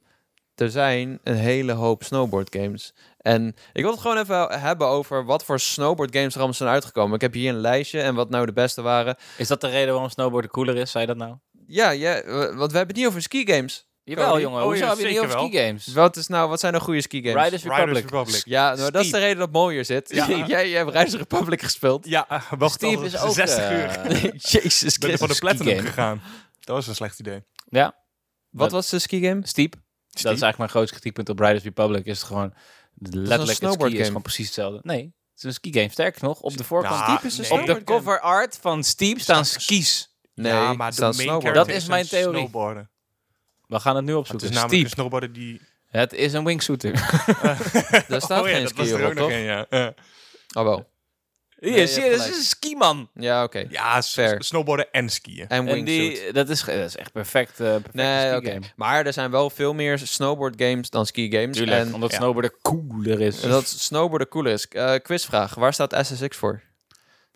er zijn een hele hoop snowboard games. En ik wil het gewoon even hebben over wat voor snowboard games er allemaal zijn uitgekomen. Ik heb hier een lijstje en wat nou de beste waren. Is dat de reden waarom snowboarden cooler is? Zei je dat nou? Ja, ja, eh, want we hebben het niet over ski games. Jawel, Cody? jongen. Oh, Hoezo ja, heb je het niet zeker over ski games? Wat, is nou, wat zijn nou goede ski games? Riders Riders Republic. Republic. ja, nou, dat is de reden dat mooier zit. Ja. Jij, jij hebt Riders Republic gespeeld. Ja, wel Steve geteld, is ook... 60 eh, uur. Jezus Ik ben er voor de Christus. ski platinum game. gegaan. Dat was een slecht idee. Wat was de ski game? Steep. Dat is eigenlijk mijn grootste kritiekpunt op Riders Republic. Is het gewoon letterlijk het ski snowboard is game. gewoon precies hetzelfde. Nee, het is een ski game. Sterker nog, op de voorkant. Ja, Steep is een nee. op de snowboard game. cover art van Steep staan Staat- skis. Nee, ja, maar de staan main snowboarden. character Dat is een mijn theorie. snowboarder. We gaan het nu Het opzoeken. is namelijk Steep. een snowboarder die... Het is een wingsuiter. Daar staat oh ja, geen dat was ski er op, ook nog toch? een, ja. Eh, Oh wel. Hier, je zie hebt je, dat gelijk. is een skiman. Ja, oké. Ja, s- Fair. s- snowboarden en En skiën. En wingsuit. die, dat is, ge- dat is echt perfect. eh perfecte Nee, ski oké. game. Maar er zijn wel veel meer snowboard games dan ski games. Tuurlijk, en omdat ja. snowboarden cooler is. dat snowboarden cooler is. Eh, quizvraag. Waar staat SSX voor?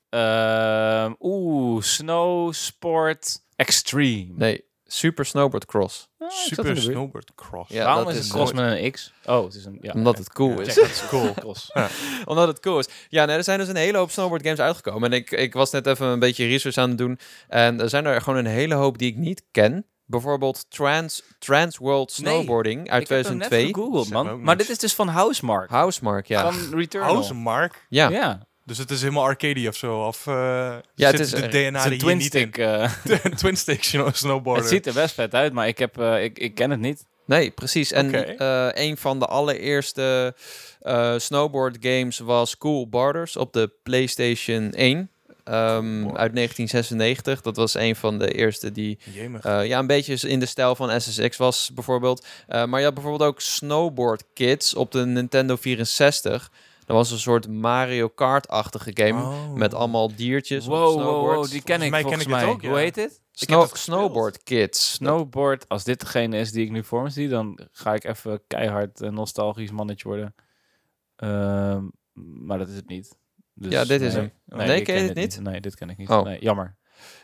Ehm, Oeh, snow sport extreme. Nee, Super Snowboard Cross. Ah, ik zat in Super de buurt. snowboard cross. Ja, Waarom dat is het is cross met een X? Oh, het is een... Ja, Omdat het cool Ja. is. Check, dat is Cool. cross. Omdat het cool is. Ja, nee, er zijn dus een hele hoop snowboard games uitgekomen. En ik, ik was net even een beetje research aan het doen. En er zijn er gewoon een hele hoop die ik niet ken. Bijvoorbeeld Trans, Trans World Nee, Snowboarding uit ik heb hem net 2002. gegoogeld, Zeg me ook man. Maar niks. dit is dus van Housemark. Housemark, ja. Van Returnal. House Oh, Mark. ja. Ja. Dus het is helemaal arcade of zo. Of eh, Ja, het zit is de een- DNA het is die een hier twin niet in. stick. eh, Een twin stick snow- snowboarder. het ziet er best vet uit, maar ik, heb, eh, ik, ik ken het niet. Nee, precies. En Oké. eh, een van de allereerste eh, snowboard games was Cool Borders op de PlayStation 1 ehm, Borders. uit 1996. Dat was een van de eerste die Jemig. eh, ja, een beetje in de stijl van SSX was bijvoorbeeld. Eh, maar je had bijvoorbeeld ook Snowboard Kids op de Nintendo 64. Dat was een soort Mario Kart-achtige game. Oh. Met allemaal diertjes op Wow, wow, snowboards. wow, die ken ik mij ken volgens ik het mij. ook, ja. Hoe heet dit? ik heb Snow- dat gespeeld. snowboard Kids. Snowboard. Als dit degene is die ik nu voor me zie, dan ga ik even keihard een nostalgisch mannetje worden. Ehm, maar dat is het niet. Dus, Ja, dit is nee. hem. Nee, Nee, ik ken je dit niet? Nee, dit ken ik niet. Oh. Nee, jammer.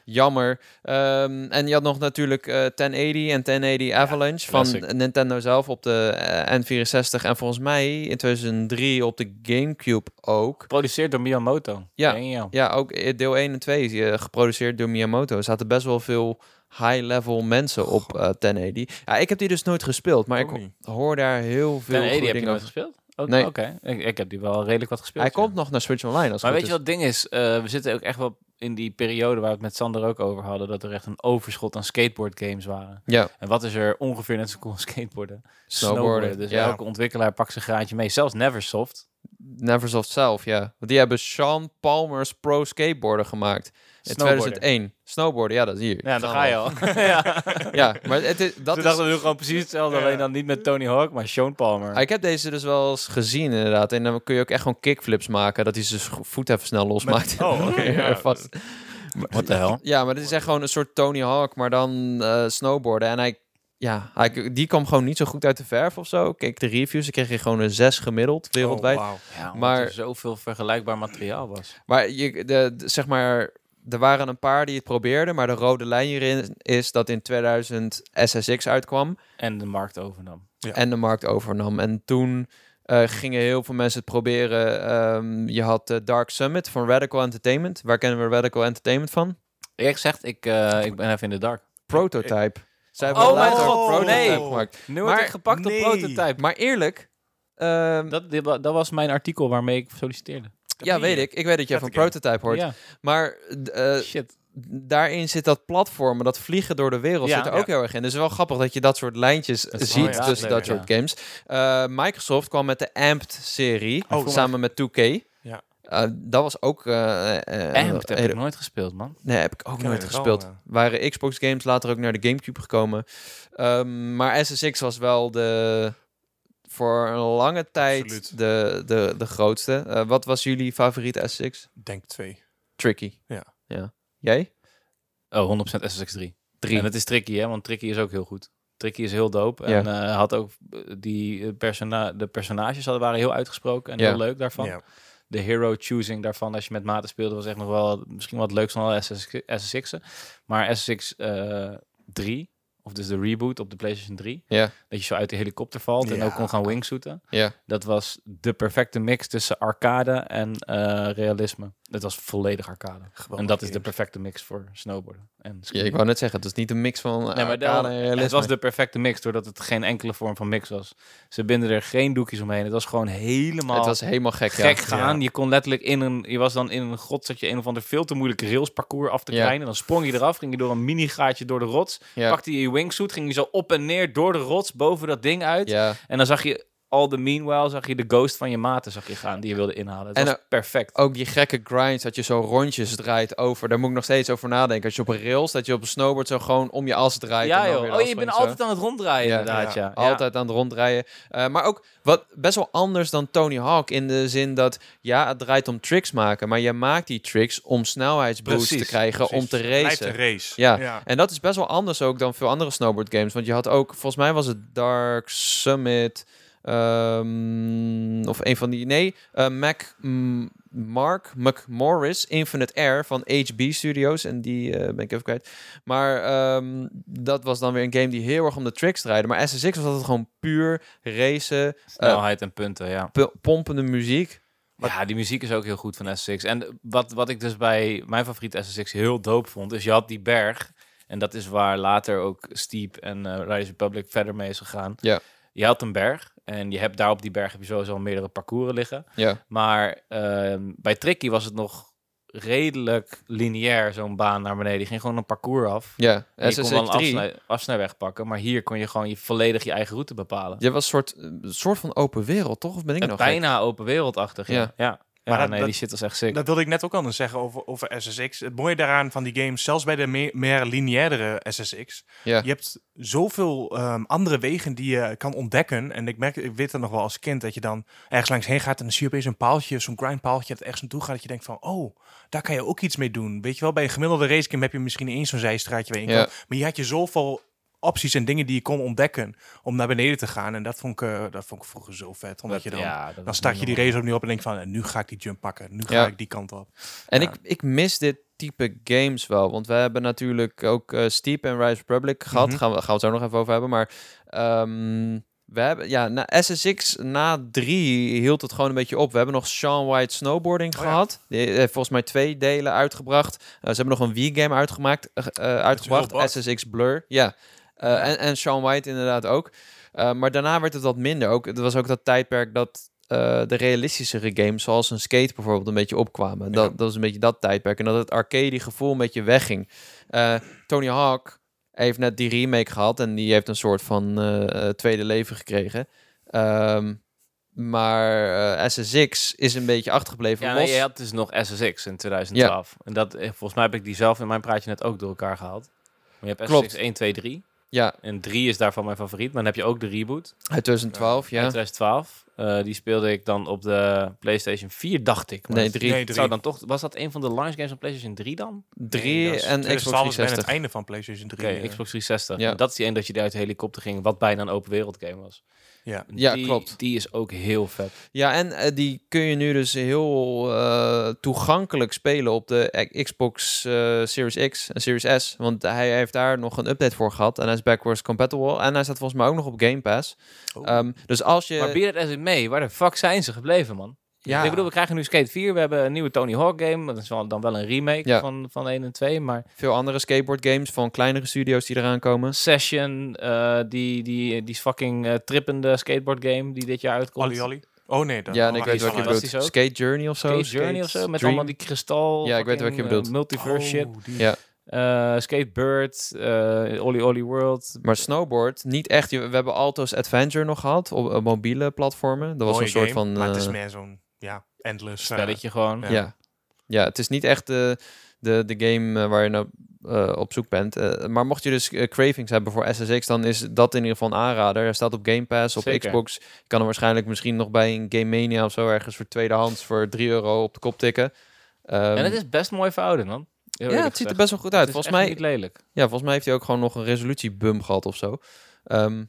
Jammer. Ehm, en je had nog natuurlijk eh, 1080 en 1080 Avalanche van classic. Nintendo zelf op de eh, N64. En volgens mij in 2003 op de Gamecube ook. Geproduceerd door Miyamoto. Ja. Damn. Ja, ook eh, deel 1 en 2 is eh, geproduceerd door Miyamoto. Er zaten best wel veel high-level mensen op eh 1080. Ja, ik heb die dus nooit gespeeld, maar Ook ik ho- niet. hoor daar heel veel Ten Ede goede heb je dingen nooit over. gespeeld? Ook- Nee. Oké, ik, ik heb die wel redelijk wat gespeeld. Hij ja. komt nog naar Switch Online. Als het Maar goed weet je is. wat het ding is? Eh, we zitten ook echt wel in die periode waar we het met Sander ook over hadden, dat er echt een overschot aan skateboard games waren. Ja, En wat is er ongeveer net zo cool als skateboarden? Snowboarden, Dus ja. elke ontwikkelaar pakt zijn graantje mee. Zelfs Neversoft. Neversoft zelf, ja. Want die hebben Sean Palmer's Pro Skateboarder gemaakt. In Snowboarden. 2001. Snowboarden, ja, dat is hier. Ja, dan ga je al. ja. Ja, maar het is, dat Ze is... dachten we doen gewoon precies hetzelfde, Ja. alleen dan niet met Tony Hawk, maar Sean Palmer. Ah, Ik heb deze dus wel eens gezien, inderdaad. En dan kun je ook echt gewoon kickflips maken. Dat hij zijn scho- voet even snel losmaakt. Oh, oké. ja. dus- Vast. What the hell? Ja, maar dit is echt gewoon een soort Tony Hawk, maar dan eh, snowboarden. En hij, ja, hij, die kwam gewoon niet zo goed uit de verf of zo. Ik Keek de reviews, ik kreeg hier gewoon een 6 gemiddeld wereldwijd. Oh, wauw. Ja, maar Maar- er zoveel vergelijkbaar materiaal was. Maar je, de, de- zeg maar, er waren een paar die het probeerden, maar de rode lijn hierin is dat in 2000 SSX uitkwam En de markt overnam. Ja. en de markt overnam. En toen eh, gingen heel veel mensen het proberen. Ehm, je had eh, Dark Summit van Radical Entertainment. Waar kennen we Radical Entertainment van? Ik zeg, ik, eh, ik ben even in de dark. Prototype. Zij hebben Oh later mijn ook god, Prototype nee. gemaakt. Nu Maar- word ik gepakt nee. op prototype. Eh, Maar eerlijk. ehm, Dat, dit wa- dat was mijn artikel waarmee ik solliciteerde. ja, weet ik. Ik weet dat jij van Vette game. prototype hoort. Ja, Maar d- eh, shit. daarin zit dat platformen, dat vliegen door de wereld, Ja. zit er ook Ja. heel erg in. Dus het is wel grappig dat je dat soort lijntjes is ziet wel, ja, tussen leuk, dat ja. soort games. Eh, Microsoft kwam met de Amped-serie, Oh, samen met 2K. Ja. Eh, dat was ook... eh, eh, En dat heb hele- ik nooit gespeeld, man. Nee, heb ik ook Ken nooit ik wel, gespeeld. ja. Waren Xbox games later ook naar de Gamecube gekomen. Ehm, maar SSX was wel de... Voor een lange tijd Absoluut. de, de, de grootste. Eh, wat was jullie favoriete SSX? Denk twee. Tricky. Ja. ja. Jij? Oh, 100% SSX3. Drie. En het is tricky, hè? Want tricky is ook heel goed. Tricky is heel dope. Ja. En eh, had ook eh, die eh, persona de personages hadden, waren heel uitgesproken en Ja. heel leuk daarvan. Ja. De hero choosing daarvan, als je met maten speelde, was echt nog wel misschien wat leuk van alle SS SSX'en. Maar SSX eh 3, of dus de reboot op de PlayStation 3, Ja. dat je zo uit de helikopter valt en Ja. ook kon gaan wingsuiten. Ja. Dat was de perfecte mix tussen arcade en eh, realisme. Het was volledig arcade. En dat is de perfecte mix voor snowboarden. En Ja, skiën. ik wou net zeggen, het is niet een mix van Nee, maar arcade en daar- het realisme. was de perfecte mix, doordat het geen enkele vorm van mix was. Ze binden er geen doekjes omheen. Het was gewoon helemaal Het was helemaal gek, gek ja. gaan. Je kon letterlijk in een... Je was dan in een grot, zat je een of ander veel te moeilijk railsparcours af te Ja. krijgen. Dan sprong je eraf, ging je door een mini-gaatje door de rots. Ja, Pakte je je wingsuit, ging je zo op en neer door de rots, boven dat ding uit. ja. En dan zag je... Al de meanwhile zag je de ghost van je maten zag je gaan die je wilde inhalen. Het En, was eh, perfect. Ook die gekke grinds, dat je zo rondjes draait over. Daar moet ik nog steeds over nadenken. Als je op een rails, dat je op een snowboard zo gewoon om je as draait. en ja dan joh. weer Oh, de je as bent van je altijd aan het ronddraaien Ja, inderdaad. Ja. ja. zo. Altijd aan het rondrijden. Eh, maar ook wat best wel anders dan Tony Hawk. In de zin dat, ja, het draait om tricks maken. Maar je maakt die tricks om snelheidsboost te Precies, krijgen, om te Lijkt racen. een race. Ja. ja. En dat is best wel anders ook dan veel andere snowboard games. Want je had ook, volgens mij was het Dark Summit. ehm, of een van die. Nee, eh, Mac, mm, Mark McMorris, Infinite Air van HB Studios. En die eh, ben ik even kwijt. Maar ehm, dat was dan weer een game die heel erg om de tricks draaide. Maar SSX was altijd gewoon puur racen, eh, Snelheid en punten, ja. p- pompende muziek. Ja, die muziek is ook heel goed van SSX. En wat, wat ik dus bij mijn favoriete SSX heel dope vond, is je had die berg. En dat is waar later ook Steep en eh Riders Republic verder mee is gegaan. Ja. Je had een berg En je hebt daar op die berg heb je sowieso al meerdere parcours liggen. Ja. Maar ehm, bij Tricky was het nog redelijk lineair, zo'n baan naar beneden. Die ging gewoon een parcours af. Ja. En je kon wel een SSX3. afsnij- afsnijweg pakken, maar hier kon je gewoon je volledig je eigen route bepalen. Je was een soort, een soort van open wereld, toch? Of ben ik nou Een nog gek? bijna open wereldachtig, ja. Ja. ja. ja. Maar dat- nee, dat- die shit was echt sick. Dat wilde ik net ook anders zeggen over, over SSX. Het mooie daaraan van die games, zelfs bij de me- meer lineairdere SSX, Ja. je hebt zoveel ehm, andere wegen die je kan ontdekken. En ik merk, ik weet dat nog wel als kind, dat je dan ergens langs heen gaat en dan zie je opeens een paaltje, zo'n grindpaaltje, dat ergens naartoe gaat, dat je denkt van, oh, daar kan je ook iets mee doen. Weet je wel, bij een gemiddelde racegame heb je misschien eens zo'n zijstraatje waar je in Ja. kan. Maar je had je zoveel opties en dingen die je kon ontdekken om naar beneden te gaan. En dat vond ik, eh, dat vond ik vroeger zo vet, omdat je dan... ja, dat Dan was start niet je die normaal. race opnieuw op en denk van, eh, nu ga ik die jump pakken. Nu ga Ja. ik die kant op. En Ja. ik, ik mis dit type games wel. Want we hebben natuurlijk ook eh, Steep en Rise Republic gehad. Mhm. Gaan, we, gaan we het daar nog even over hebben. Maar ehm, we hebben, ja, na SSX na 3 hield het gewoon een beetje op. We hebben nog Sean White Snowboarding Oh ja. gehad. Die heeft volgens mij twee delen uitgebracht. Eh, ze hebben nog een Wii-game uitgemaakt, eh, eh, bak. uitgebracht. SSX Blur, ja. Eh, Ja. En, en Sean White inderdaad ook. Eh, maar daarna werd het wat minder. Ook, het was ook dat tijdperk dat eh, de realistischere games, zoals een skate bijvoorbeeld, een beetje opkwamen. Dat, dat was een beetje dat tijdperk. En dat het arcade gevoel een beetje wegging. Eh, Tony Hawk heeft net die remake gehad en die heeft een soort van eh, eh, tweede leven gekregen. Ehm, maar eh, SSX is een beetje achtergebleven. Ja, los. nee, je had dus nog SSX in 2012. En dat, eh, volgens mij heb ik die zelf in mijn praatje net ook door elkaar gehaald. Maar je hebt Klopt. SSX 1, 2, 3. ja En 3 is daarvan mijn favoriet. Maar dan heb je ook de reboot uit 2012, ja. uit 2012. Eh, die speelde ik dan op de PlayStation 4, dacht ik. Maar Nee, dat- drie. Nee, Zou dan toch, was dat een van de launch games van PlayStation 3 dan? Drie en Xbox En het 360. einde van PlayStation 3. Oké, eh, Xbox 360. Ja. Dat is die een dat je die uit de helikopter ging, wat bijna een open wereld game was. Ja. Ja, die, klopt. Die is ook heel vet. Ja, en eh, die kun je nu dus heel eh, toegankelijk spelen op de e- Xbox eh, Series X en Series S. Want hij heeft daar nog een update voor gehad. En hij is backwards compatible. En hij staat volgens mij ook nog op Game Pass. Oh. Ehm, dus als je... Maar bier het SM mee, waar de fuck zijn ze gebleven, man? Ja. Ik bedoel, we krijgen nu Skate 4, we hebben een nieuwe Tony Hawk game. Dat is wel, dan wel een remake Ja. van, van 1 en 2, maar... Veel andere skateboard games van kleinere studio's die eraan komen. Session, eh, die, die, die fucking eh, trippende skateboard game die dit jaar uitkomt. Olly Olly. Oh nee, dat ja, en ik die weet is wat je fantastisch bedoelt. ook. Skate Journey of zo. Skate Journey of Skate zo, met Dream. allemaal die kristal. Ja, ik weet fucking, welke je bedoelt. eh, multiverse Oh. shit. Ja. Eh, Skatebird, eh Olly Olly World. Maar snowboard, niet echt. Je- We hebben Alto's Adventure nog gehad op, op mobiele platformen. Dat was een soort van... Maar het is eh, meer zo'n ja, endless. eh, Spelletje gewoon. Ja. Ja. ja. het is niet echt de, de, de game eh, waar je nou, eh, op zoek bent. Eh, maar mocht je dus eh, cravings hebben voor SSX, dan is dat in ieder geval een aanrader. Hij staat op Game Pass, op Zeker. Xbox. Je kan hem waarschijnlijk misschien nog bij een Game Mania of zo ergens voor tweedehands voor 3 euro op de kop tikken. Ehm, En het is best mooi verouderd, man. Heel ja, eerlijk het ziet er gezegd. best wel goed Het uit. is Volgens echt mij, niet lelijk. ja, volgens mij heeft hij ook gewoon nog een resolutiebum gehad of zo. Ehm,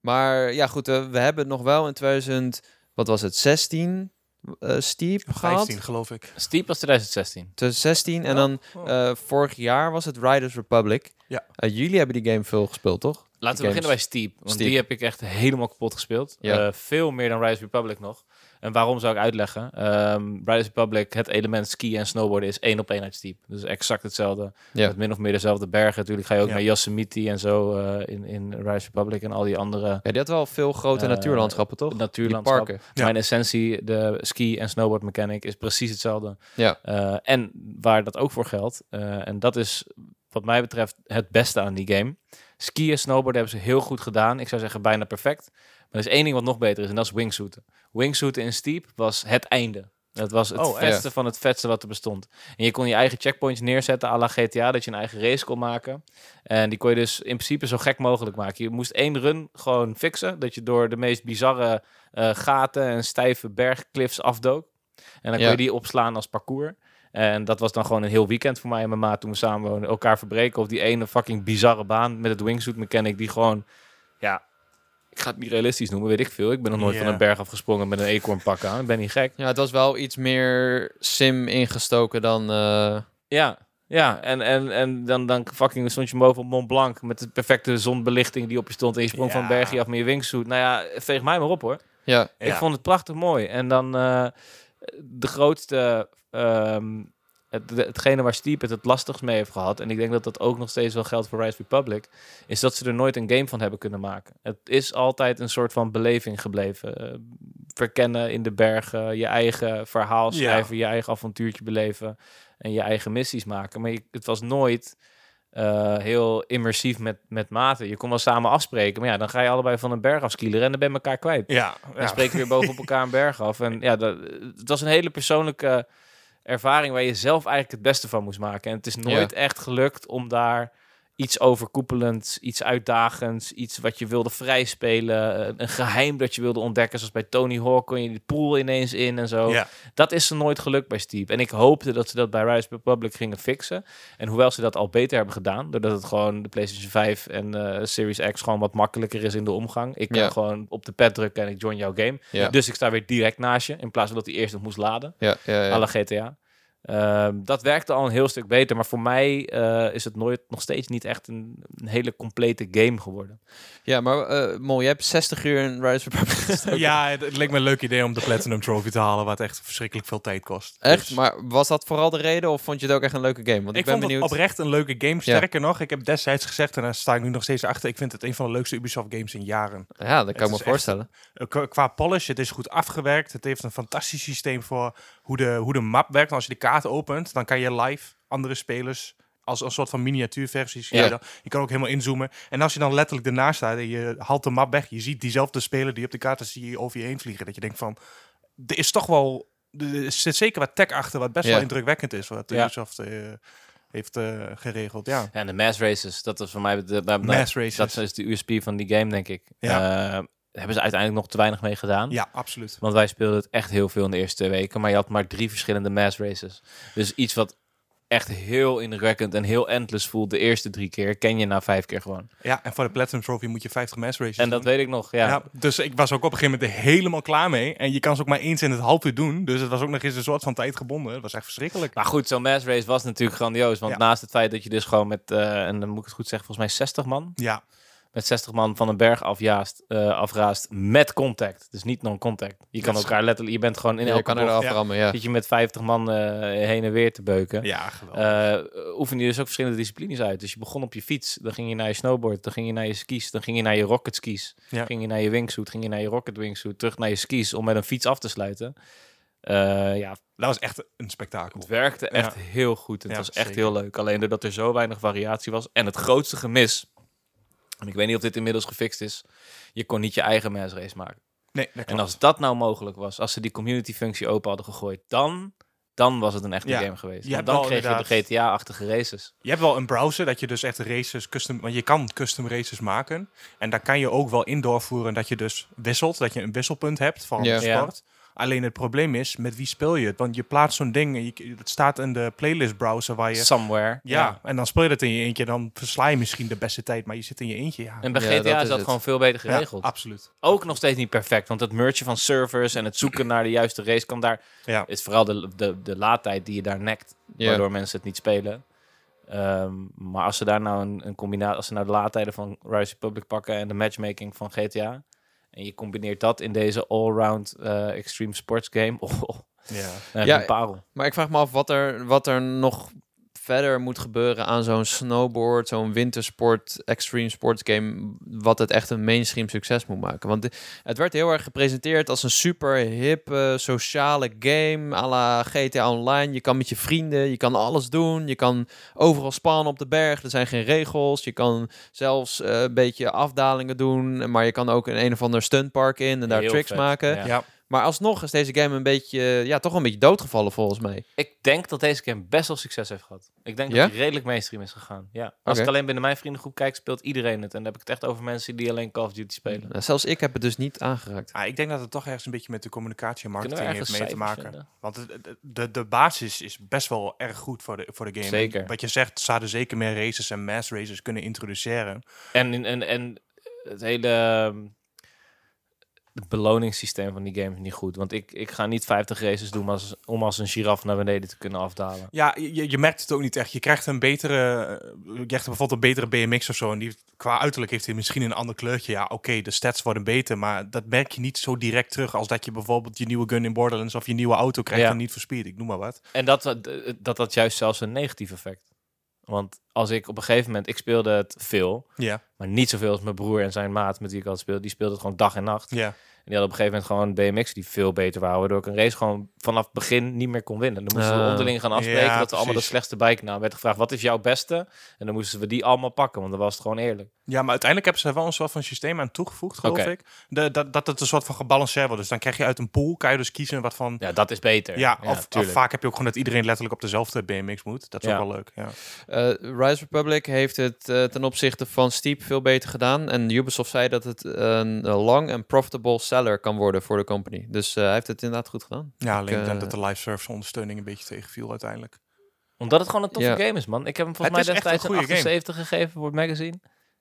maar ja, goed, eh, we hebben nog wel in 2000, wat was het, 16 eh, Steep gehad? 15 geloof ik. Steep was 2016. 2016 en Oh. dan Oh. eh, vorig jaar was het Riders Republic. Ja. Eh, jullie hebben die game veel gespeeld, toch? Laten we games. beginnen bij Steep. Want Steep. die heb ik echt helemaal kapot gespeeld. Ja. Eh, veel meer dan Rise Republic nog. En waarom zou ik uitleggen? Ehm Rise Republic, het element skiën en snowboarden is één op één uit Steep. Dus exact hetzelfde. Ja. Met min of meer dezelfde bergen. Natuurlijk ga je ook Ja. naar Yosemite en zo eh, in, in Rise Republic en al die andere Ja, die had wel veel grote Eh, natuurlandschappen, toch? natuurlandschappen. Die parken. Ja. Mijn essentie, de ski- en snowboard mechanic, is precies hetzelfde. Ja. Eh, en waar dat ook voor geldt, eh, en dat is wat mij betreft het beste aan die game. Skiën, snowboarden hebben ze heel goed gedaan. Ik zou zeggen bijna perfect. Maar er is één ding wat nog beter is, en dat is wingsuiten. Wingsuiten in Steep was het einde. Dat was het Oh, echt? vetste van het vetste wat er bestond. En je kon je eigen checkpoints neerzetten à la GTA, dat je een eigen race kon maken. En die kon je dus in principe zo gek mogelijk maken. Je moest één run gewoon fixen, dat je door de meest bizarre eh, gaten en stijve bergcliffs afdook. En Ja. dan kon je die opslaan als parcours. En dat was dan gewoon een heel weekend voor mij en mijn maat toen we samen woonden. Elkaar verbreken op die ene fucking bizarre baan met het wingsuit mechanic die gewoon... Ja, ik ga het niet realistisch noemen, weet ik veel. Ik ben nog nooit Ja. van een berg afgesprongen met een eekhoornpak aan. Ik ben niet gek. Ja, het was wel iets meer sim ingestoken dan... eh, Ja, ja. En, en, en dan, dan fucking stond je boven op Mont Blanc met de perfecte zonbelichting die op je stond. En je sprong van Ja. een bergje af met je wingsuit. Nou ja, veeg mij maar op hoor. ja, Ja. Ik vond het prachtig mooi. En dan eh, de grootste ehm, het, de- hetgene waar Steep het het lastigst mee heeft gehad, en ik denk dat dat ook nog steeds wel geldt voor Rise Republic, is dat ze er nooit een game van hebben kunnen maken. Het is altijd een soort van beleving gebleven. Eh, verkennen in de bergen, je eigen verhaal Ja. schrijven, je eigen avontuurtje beleven en je eigen missies maken. Maar je- het was nooit eh, heel immersief met, met maten. Je kon wel samen afspreken, maar ja, dan ga je allebei van een berg afskieleren en dan ben je elkaar kwijt. Ja, En spreken weer bovenop elkaar een berg af. En ja, dat, het was een hele persoonlijke ervaring waar je zelf eigenlijk het beste van moest maken. En het is nooit echt gelukt om daar iets overkoepelends, iets uitdagends, iets wat je wilde vrijspelen, een- een geheim dat je wilde ontdekken. Zoals bij Tony Hawk kon je die pool ineens in en zo. Ja. Dat is ze nooit gelukt bij Steep. En ik hoopte dat ze dat bij Rise Republic gingen fixen. En hoewel ze dat al beter hebben gedaan, doordat het gewoon de PlayStation 5 en eh, Series X gewoon wat makkelijker is in de omgang. Ik kan Ja. gewoon op de pad drukken en ik join jouw game. Ja. Dus ik sta weer direct naast je, in plaats van dat hij eerst nog moest laden. Ja, ja, ja. Alle GTA. Ehm, dat werkte al een heel stuk beter, maar voor mij eh, is het nooit, nog steeds niet echt een, een hele complete game geworden. ja maar eh Mol, jij hebt 60 uur in Rise of Republic gestoken. Ja, het, het leek me een leuk idee om de Platinum Trophy te halen, wat echt verschrikkelijk veel tijd kost. Echt? Dus- Maar was dat vooral de reden of vond je het ook echt een leuke game? Want ik, ik ben vond benieuwd. het oprecht een leuke game. Sterker nog, ik heb destijds gezegd, en daar sta ik nu nog steeds achter, ik vind het een van de leukste Ubisoft games in jaren. Ja, dat Het kan ik is me echt- voorstellen. Eh, qua- Qua polish, het is goed afgewerkt. Het heeft een fantastisch systeem voor hoe de, hoe de map werkt. En als je de kaart opent, dan kan je live andere spelers als een soort van miniatuurversies. Ja. Ja. Je, kan ook helemaal inzoomen. En als je dan letterlijk ernaast staat en je haalt de map weg, je ziet diezelfde speler die op de kaart is, zie je over je heen vliegen. Dat je denkt van, er is toch wel, er zit zeker wat tech achter, wat best Ja. wel indrukwekkend is, wat Ja. Mhm. Ubisoft eh, heeft eh, geregeld. Ja. En de mass races, dat is voor mij de, Mass races. dat is de USP van die game, denk ik. Ja. Eh, hebben ze uiteindelijk nog te weinig mee gedaan. ja, absoluut. Want wij speelden het echt heel veel in de eerste twee weken. Maar je had maar drie verschillende mass races. Dus iets wat echt heel indrukwekkend en heel endless voelt de eerste drie keer, ken je na vijf keer gewoon. Ja, en voor de Platinum Trophy moet je 50 mass races En dat weet ik nog, ja. Ja. dus ik was ook op een gegeven moment er helemaal klaar mee. En je kan ze ook maar eens in het half uur doen. Dus het was ook nog eens een soort van tijd gebonden. Dat was echt verschrikkelijk. Maar goed, zo'n mass race was natuurlijk grandioos. Want Ja. naast het feit dat je dus gewoon met, eh, en dan moet ik het goed zeggen, volgens mij 60 man. Ja, Met 60 man van een berg afjaast, eh, afraast met contact. Dus niet non-contact. Je kan Dat is- elkaar letterlijk, je bent gewoon in je elke kan bocht, er ja. aframmen, ja. zit je met 50 man eh, heen en weer te beuken. ja geweldig. eh oefen je dus ook verschillende disciplines uit. Dus je begon op je fiets, dan ging je naar je snowboard, dan ging je naar je skis, dan ging je naar je rocket skis, Ja. ging je naar je wingsuit, ging je naar je rocket wingsuit, terug naar je skis om met een fiets af te sluiten. Eh, ja, dat was echt een spektakel. het werkte echt Ja. heel goed. Het Ja, was echt zeker. heel leuk. Alleen doordat er zo weinig variatie was en het grootste gemis, en ik weet niet of dit inmiddels gefixt is, je kon niet je eigen mass race maken. Nee, dat En klopt. als dat nou mogelijk was, als ze die community functie open hadden gegooid, dan, dan was het een echte Ja. game geweest. Je Want hebt dan wel kreeg je de inderdaad- GTA-achtige races. Je hebt wel een browser dat je dus echt races custom... Want je kan custom races maken. En daar kan je ook wel in doorvoeren dat je dus wisselt. Dat je een wisselpunt hebt van Ja. de sport. Alleen het probleem is, met wie speel je het? Want je plaatst zo'n ding en je, het staat in de playlist browser waar je... Somewhere. Ja, en dan speel je dat in je eentje. Dan versla je misschien de beste tijd, maar je zit in je eentje. Ja, En bij Ja, GTA dat is, is dat het. gewoon veel beter ja Ah. geregeld. absoluut. ook nog steeds niet perfect, want het mergen van servers en het zoeken naar de juiste race kan daar Ja. is vooral de, de, de laadtijd die je daar nekt, Ja. waardoor mensen het niet spelen. Ehm, maar als ze daar nou een, een combinatie, als ze nou de laadtijden van Rise Republic pakken en de matchmaking van GTA, en je combineert dat in deze allround eh, extreme sports game, oh, oh, Ja. dan heb je Ja, een parel. Maar ik vraag me af wat er, wat er nog verder moet gebeuren aan zo'n snowboard, zo'n wintersport, extreme sports game, wat het echt een mainstream succes moet maken. Want di- het werd heel erg gepresenteerd als een super hippe sociale game à la GTA Online. Je kan met je vrienden, je kan alles doen, je kan overal spannen op de berg, er zijn geen regels, je kan zelfs eh, een beetje afdalingen doen, maar je kan ook in een of ander stuntpark in en daar Heel tricks vet, maken. ja. ja. Maar alsnog is deze game een beetje, ja, toch een beetje doodgevallen volgens mij. Ik denk dat deze game best wel succes heeft gehad. Ik denk Ja? dat hij redelijk mainstream is gegaan. Ja. Als Oké. ik alleen binnen mijn vriendengroep kijk, speelt iedereen het. En dan heb ik het echt over mensen die alleen Call of Duty spelen. Nou, zelfs ik heb het dus niet aangeraakt. Ah, ik denk dat het toch ergens een beetje met de communicatie en Kunnen we marketing heeft ergens mee te cijfers maken. vinden? Want het- het- de, de basis is best wel erg goed voor de, voor de game. Zeker. Wat je zegt, zouden zeker meer races en mass races kunnen introduceren. En, en, en het hele... ehm, het beloningssysteem van die game is niet goed. Want ik, ik ga niet 50 races doen als, om als een giraf naar beneden te kunnen afdalen. Ja, je, je merkt het ook niet echt. Je krijgt een betere, eh, je krijgt bijvoorbeeld een betere BMX of zo. En die, qua uiterlijk heeft hij misschien een ander kleurtje. Ja, oké, de stats worden beter, maar dat merk je niet zo direct terug als dat je bijvoorbeeld je nieuwe gun in Borderlands of je nieuwe auto krijgt Ja. van Need for Speed. Ik noem maar wat. En dat, dat dat had juist zelfs een negatief effect. Want als ik op een gegeven moment, ik speelde het veel, Ja, maar niet zoveel als mijn broer en zijn maat met wie ik altijd speelde. Die speelde het gewoon dag en nacht. ja. En die hadden op een gegeven moment gewoon BMX die veel beter waren. Waardoor ik een race gewoon vanaf het begin niet meer kon winnen. Dan moesten we Ah. onderling gaan afspreken Ja, dat we allemaal de precies. slechtste bike namen. Werd gevraagd, wat is jouw beste? En dan moesten we die allemaal pakken, want dan was het gewoon eerlijk. Ja, maar uiteindelijk hebben ze er wel een soort van systeem aan toegevoegd, geloof Oké. ik. De, dat, dat het een soort van gebalanceerd wordt. Dus dan krijg je uit een pool, kan je dus kiezen wat van... Ja, dat is beter. Ja, of, of tuurlijk. vaak heb je ook gewoon dat iedereen letterlijk op dezelfde BMX moet. Dat is Ja. ook wel leuk, ja. Eh, Rise Republic heeft het eh, ten opzichte van Steep veel beter gedaan. En Ubisoft zei dat het een eh, long en profitable seller kan worden voor de company. Dus eh, hij heeft het inderdaad goed gedaan. Ja, alleen eh, dan dat de live service ondersteuning een beetje tegenviel uiteindelijk. Omdat het gewoon een toffe Ja. game is, man. Ik heb hem volgens Het mij is echt destijds een een goede game. 78 gegeven voor het magazine.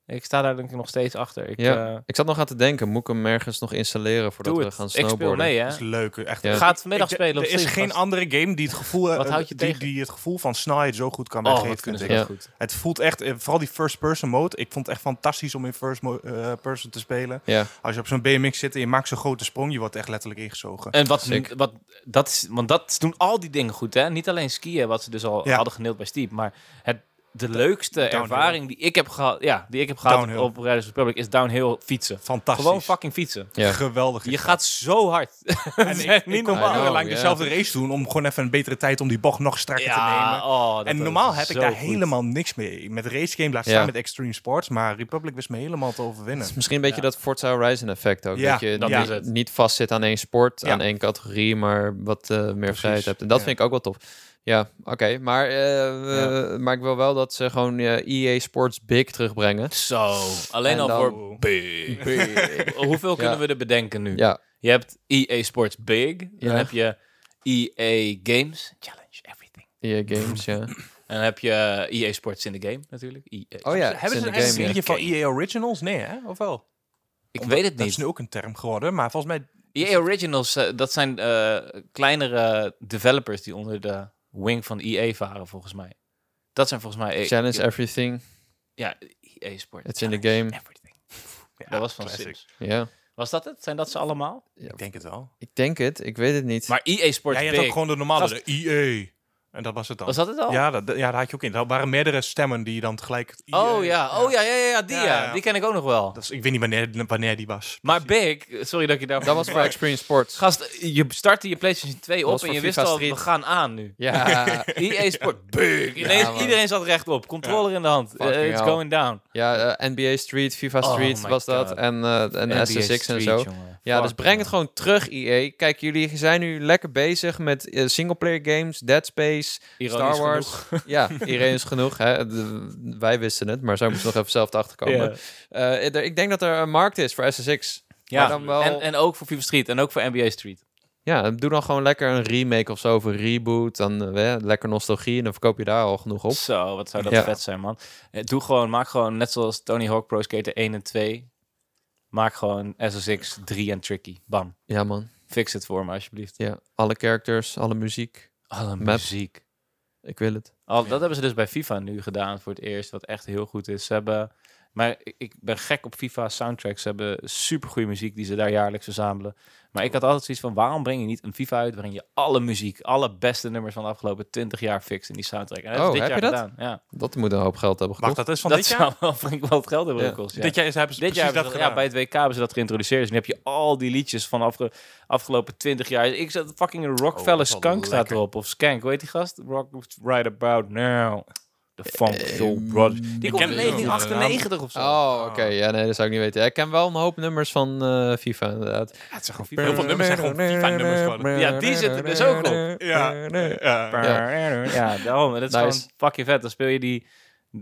Ik sta daar denk ik nog steeds achter. Ik, Ja. eh, Ik zat nog aan te denken, moet ik hem ergens nog installeren voordat doe we het. gaan ik snowboarden? speel mee, hè. Dat is leuk, echt. Ja. Ga het vanmiddag Dus Ik d- spelen op Er is Steam, geen gast. andere game die het gevoel, eh, Wat houd je die, tegen? die het gevoel van snelheid zo goed kan Oh, weggeven. wat kunnen ze vind Ja. dat goed. ik. Het voelt echt, eh, vooral die first-person mode. Ik vond het echt fantastisch om in first-person te spelen. Ja, Als je op zo'n BMX zit en je maakt zo'n grote sprong, je wordt echt letterlijk ingezogen. En wat, Sick. ze, wat dat is, want dat doen al die dingen goed, hè? Niet alleen skiën, wat ze dus al Ja. hadden geneeld bij Steep, maar het, de leukste downhill. ervaring die ik heb gehad, ja, die ik heb gehad Downhill. op Riders Republic is downhill fietsen. Fantastisch. Gewoon fucking fietsen. ja. Geweldig. Je gaat zo hard. en ik, niet ik kon normaal. urenlang I know, dezelfde race doen om gewoon even een betere tijd om die bocht nog strakker te nemen. oh, dat En was normaal heb ik zo daar goed. helemaal niks mee. Met race game laat Ja. staan met extreme sports, maar Republic wist me helemaal te overwinnen. Het is misschien een beetje Ja. dat Forza Horizon effect ook. Ja, dat je dat niet, is het. niet vastzit aan één sport, Ja. aan één categorie, maar wat eh, meer vrijheid hebt. En dat ja. vind ik ook wel tof. Ja, oké. Maar, eh, eh, maar ik wil wel dat ze gewoon eh EA Sports Big terugbrengen. Zo, alleen En al dan- voor big. Hoeveel kunnen we er bedenken nu? Ja, Je hebt EA Sports Big, dan Ja. heb je EA Games, Challenge Everything. EA Games, ja. En dan heb je EA Sports in the Game natuurlijk. E EA. Oh ja, in Hebben ze de een game, game, ja. serie van EA Originals? Nee, hè? Of wel? Ik weet het Dat is niet. nu ook een term geworden, maar volgens mij... EA Originals, eh, dat zijn eh, kleinere developers die onder de wing van EA varen, volgens mij. Dat zijn volgens mij... Challenge ja, everything. Ja, EA Sport. It's in the Challenge game. Everything. dat was van classic. Sims. Ja, Was dat het? Zijn dat ze allemaal? Ik denk het wel. ik denk het. Ik weet het niet. Maar EA Sports Ja, je had ook Big. gewoon de normale Gast. de EA. En dat was het dan. Was dat het al? Ja, dat, ja, daar had je ook in. Er waren meerdere stemmen die dan tegelijk... het EA Oh ja, oh ja, ja, ja, ja, die Ja, ja, ja. Die ken ik ook nog wel. Dat is, ik weet niet wanneer, wanneer die was. Maar Big, sorry dat ik je daar... Dat was voor Experience Sports. Gast, je startte je PlayStation 2 op was en voor je wist FIFA al, Street. we gaan aan nu. Ja, EA Sport, big. Ineens, man. iedereen zat rechtop, controller in de hand. Fucking Eh, it's hell. going down. ja eh, NBA Street, FIFA Oh Street my was dat. God. En, eh, en NBA SSX en Street, zo. jongen. Ja, Fuck, dus breng man. het gewoon terug, EA. Kijk, jullie zijn nu lekker bezig met eh, singleplayer games, Dead Space, Ironisch Star Wars. Ja, iedereen is genoeg. Hè? De- wij wisten het, maar zij moesten nog even zelf achterkomen. Ja. Eh, er- ik denk dat er een markt is voor SSX. Maar dan wel- en, en ook voor FIFA Street en ook voor NBA Street. Ja, doe dan gewoon lekker een remake of zo, of een reboot. Dan eh, lekker nostalgie en dan verkoop je daar al genoeg op. Zo, wat zou dat Ja. vet zijn, man. Eh, Doe gewoon, maak gewoon, net zoals Tony Hawk Pro Skater 1 en 2, maak gewoon SSX 3 en Tricky. Bam. Ja, man. Fix het voor me, alsjeblieft. Ja, alle characters, alle muziek. Alle Met- muziek. Ik wil het. Al, dat hebben ze dus bij FIFA nu gedaan voor het eerst, wat echt heel goed is. Ze hebben, maar ik- ik ben gek op FIFA soundtracks. Ze hebben supergoeie muziek die ze daar jaarlijks verzamelen. Maar ik had altijd zoiets van, waarom breng je niet een FIFA uit waarin je alle muziek, alle beste nummers van de afgelopen 20 jaar fixt in die soundtrack? En dat Oh, is dit heb jaar je dat? gedaan. Ja. Dat moet een hoop geld hebben Wacht, gekocht. dat is van dat dit zou jaar? wel flink wel het geld hebben Ja. gekost. Ja. Dit jaar is, hebben ze Dit jaar hebben precies dat ze- gedaan. ja, bij het WK hebben ze dat geïntroduceerd. Dus dan heb je al die liedjes van afge- afgelopen 20 jaar. Ik zat fucking Oh, Rockefeller dat is wel Skunk staat lekker. erop. Of Skank, hoe heet die gast? Rock Right About Now. The Funk Soul Brothers. Die komt ken in Eh, die wel. 1998 of zo. Ehm, Oh, oké. Ja, nee, dat zou ik niet weten. Ik ken wel een hoop nummers van eh, FIFA, inderdaad. Ja, het is gewoon Heel veel nummers zijn gewoon FIFA-nummers geworden. Oh, Ja, die zitten dus ook op. Ja. Ja. Ja, daarom. En dat is Nice. gewoon fucking vet. Dan speel je die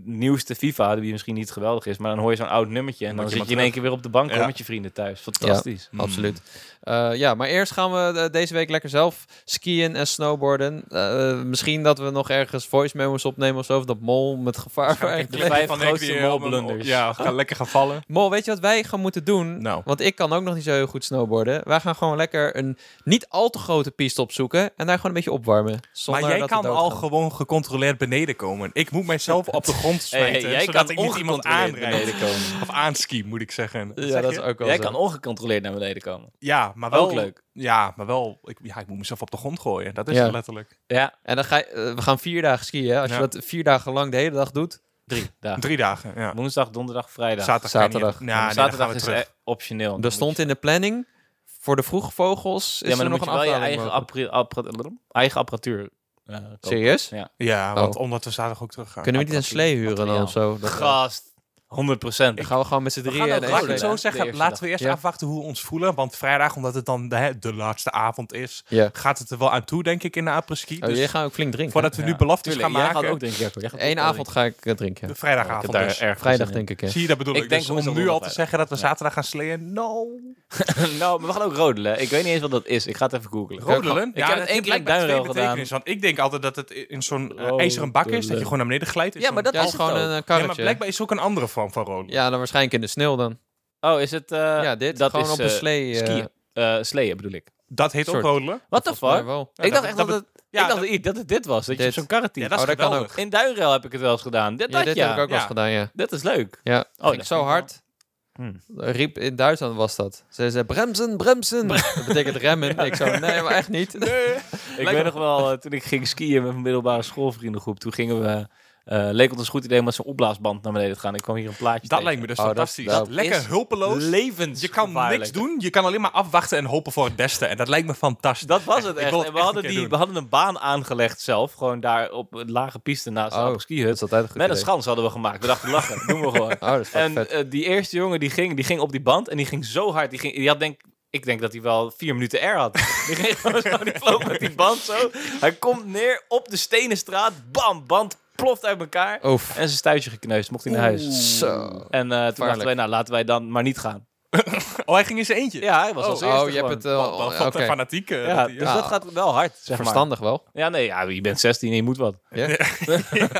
nieuwste FIFA, die misschien niet geweldig is, maar dan hoor je zo'n oud nummertje en Moet dan je zit maar je in één keer weer op de bank Ja. hoor, met je vrienden thuis. Fantastisch. Mm. Absoluut. Eh, ja, maar eerst gaan we eh, deze week lekker zelf skiën en snowboarden. Eh, misschien dat we nog ergens voice memos opnemen of zo. Of dat mol met gevaar. Ga ik eigenlijk. de lekker vijf van Henk grootste weer op een- molblunders. Ja, ga lekker gaan vallen. Mol, weet je wat wij gaan moeten doen? Nou. Want ik kan ook nog niet zo heel goed snowboarden. Wij gaan gewoon lekker een niet al te grote piste opzoeken. En daar gewoon een beetje opwarmen. Maar Zonder jij dat we kan al doodgaan. gewoon gecontroleerd beneden komen. Ik moet mijzelf op de grond Hey, hey, smijten, jij zodat kan ik niet iemand ongecontroleerd naar aanrijd. beneden komen. Of aanski, moet ik zeggen. Ja, Zeg dat je? is ook wel Jij zo. kan ongecontroleerd naar beneden komen. ja, maar wel Ook leuk. Ja, maar wel. Ik, ja, ik moet mezelf op de grond gooien. Dat is Ja. het letterlijk. Ja, En dan ga je, eh, we gaan vier dagen skiën. hè. Als Ja. je dat vier dagen lang de hele dag doet. drie dagen. Drie dagen. Ja. Woensdag, donderdag, vrijdag. Zaterdag. ga je niet- Zaterdag. Nou, nee, dan gaan Zaterdag we is terug. eh, optioneel. Er stond in de planning voor de vroege vogels. Is ja, maar er dan moet nog een je wel je afdaling eigen, mogelijk. appara- appara- eigen apparatuur eh, kopen. Serieus? Ja. Ja, want Oh. omdat we zaterdag ook terug gaan. Kunnen we niet een slee huren dan of zo? Dat- eh, Gast. 100 procent. dan gaan we gewoon met z'n We drieën. gaan ook, de laat ik hele het slee- zo dag. zeggen, De eerste laten dag. we eerst Ja. afwachten hoe we ons voelen. Want vrijdag, omdat het dan de, de laatste avond is, Ja. gaat het er wel aan toe, denk ik, in de apres-ski. Oh, Dus jij gaat ook flink drinken. voordat we nu beloftes Tuurlijk, gaan jij dus maken, gaat ook denken, Jacco. Jij gaat ook Eén wel avond ga ik eh, drinken. de drinken. Ik heb vrijdagavond daar dus. erg Vrijdag zin in. denk ik. ja. Zie je, dat bedoel Ik ik. denk dus om woensdag nu al te vrijdag. zeggen dat we Ja. zaterdag gaan sleeën, no. nou, maar we gaan ook rodelen. Ik weet niet eens wat dat is. Ik ga het even googlen. Rodelen? Ik heb het één keer in Duinrail gedaan. Want ik denk altijd dat het in zo'n eh, Oh, ijzeren bak is, dat je tuurlijk. gewoon naar beneden glijdt. in Ja, maar dat zo'n- Ja, het is is gewoon het ook. een eh, Ja, maar karretje. Ja, blijkbaar is ook een andere vorm van rodelen. dan waarschijnlijk in de sneeuw dan. Oh, is het... eh, Ja, dit dat gewoon is, op eh, een slee. eh, skiën. eh, sleeën bedoel ik. Dat heet ook Soort. rodelen. What the volgens mij fuck? wel. Ik dat- dacht echt dat dat het... Ja, Ik dacht niet dat het dit was. Dat je eh, Dit. op zo'n karretje... Ja, dat is Oh, dat kan geweldig. In Duinrail heb ik het wel eens gedaan. Dit Ja, had dit je. heb ik ook wel eens Ja. gedaan, ja. Dit is leuk. Ja, dat ging vind zo ik hard. Hmm. Riep in Duitsland was dat. Ze zei bremsen, bremsen. Dat betekent remmen. ik zo, nee, maar echt niet. Ik weet nog wel, eh, toen ik ging skiën met mijn middelbare schoolvriendengroep, toen gingen we... eh, leek ons een goed idee om met zo'n opblaasband naar beneden te gaan. Ik kwam hier een plaatje Dat tegen. lijkt me dus Oh, dat- fantastisch. dat Lekker is hulpeloos. levens. Dus Je kan niks gevaarlijk. doen. Je kan alleen maar afwachten en hopen voor het beste. En dat lijkt me fantastisch. Dus Dat was het Ik echt. wil het En we, echt hadden een keer die, doen. we hadden een baan aangelegd zelf. Gewoon daar op een lage piste naast de Oh, de ski Dat hut. is altijd een goed Met een idee. schans hadden we gemaakt. We dachten, lachen, doen we gewoon. Oh, dat is wel En vet. eh, die eerste jongen die ging, die ging op die band en die ging zo hard. Die ging, die had denk, ik denk dat hij wel vier minuten air had. Die ging gewoon zo, die vloog met die band zo. Hij komt neer op de stenen straat. Bam, band ploft uit elkaar. Oef. En zijn stuitje gekneusd, mocht hij naar huis. Zo. En eh, toen dachten Gevaarlijk. wij, nou laten wij dan maar niet gaan. Oh, hij ging in zijn eentje. Ja, hij was Oh. als eerste Oh, je hebt gewoon. het... eh, Wel Oké. van de fanatiek. Ja, eh, dat hij- dus dat gaat wel hard, zeg maar. Verstandig wel. Ja, nee, ja, je bent 16 en je moet wat. Ja.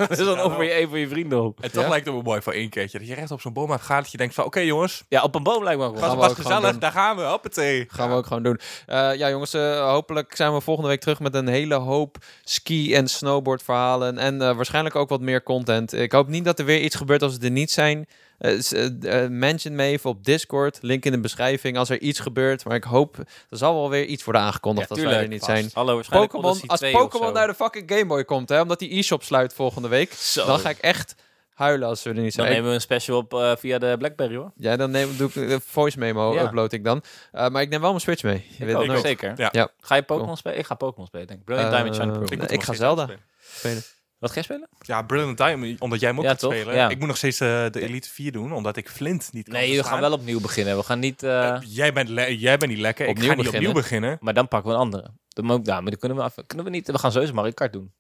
Dus dan over je een van je vrienden op. En toch Ja. lijkt het me mooi voor één keertje. Dat je recht op zo'n boom gaat, dat je denkt van... Oké jongens, Ja, op een boom lijkt me ook dat Gaan wel. we was ook gewoon gezellig. doen. Daar gaan we. Hoppatee. Gaan we ook gewoon doen. Eh, ja, jongens, eh, hopelijk zijn we volgende week terug met een hele hoop ski- en snowboardverhalen. En eh, waarschijnlijk ook wat meer content. Ik hoop niet dat er weer iets gebeurt als we er niet zijn. Eh, s- eh, eh, mention me even op Discord. Link in de beschrijving als er iets gebeurt. Maar ik hoop, er zal wel weer iets worden aangekondigd als wij er niet zijn. Hallo, waarschijnlijk Pokémon, Odyssey als 2 of Pokémon zo. naar de fucking Game Boy komt, hè, omdat die e-shop sluit volgende week, Zo. dan ga ik echt huilen als we er niet Dan zijn. nemen we een special op eh, via de Blackberry, hoor. Ja, dan neem, doe ik de voice memo, Ja. upload ik dan. Eh, maar ik neem wel mijn Switch mee. Je weet het ook, nooit. Oh, zeker. Ja. Ja. Ga je Pokémon Cool. spelen? Ik ga Pokémon spelen, denk ik. Brilliant Eh, Diamond Shining Pearl. ik- moet ik nog ga steeds Zelda. spelen. Wat ga je spelen? Ja, Brilliant Time, omdat jij hem ook Ja, gaat toch? spelen. Ja. Ik moet nog steeds eh, de Elite 4 doen, omdat ik Flint niet kan Nee, we gaan verslaan. wel opnieuw beginnen. We gaan niet... eh, Eh, jij, bent le- jij bent niet lekker, ik Opnieuw ga niet beginnen. opnieuw beginnen. maar dan pakken we een andere. Dat moet ook daar. Maar dan kunnen we, af, kunnen we niet... We gaan sowieso Mario Kart doen.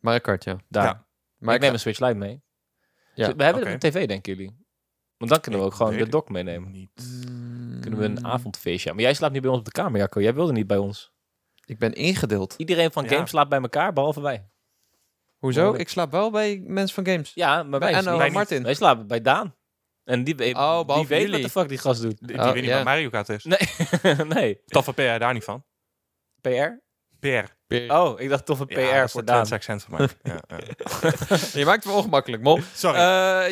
Mario Kart, ja. Daar. Ja. Maar ik neem een Switch Lite mee. Ja. Dus we hebben Oké. het op tv, denken jullie. Want dan kunnen we Ik ook gewoon weet de het dock meenemen. Niet. Kunnen we Hmm. een avondfeestje. aan. Maar jij slaapt niet bij ons op de kamer, Jacco. Jij wilde niet bij ons. Ik ben ingedeeld. Iedereen van Ja. Games slaapt bij elkaar, behalve wij. Hoezo? Ik slaap wel bij mensen van games. Ja, maar wij, Bij Anno slapen- wij en eh, niet. Martin. wij slapen bij Daan. En die, weet- Oh, behalve die weet jullie. wat de fuck die gast doet. Die, die Oh, weet niet ja. wat Mario Kart is. nee, Toffe PR daar niet van. PR? PR. Oh, ik dacht toch een PR Ja, dat is voor de Daan. Twents accent van mij. ja, ja. Je maakt me ongemakkelijk, mol. Sorry. Eh,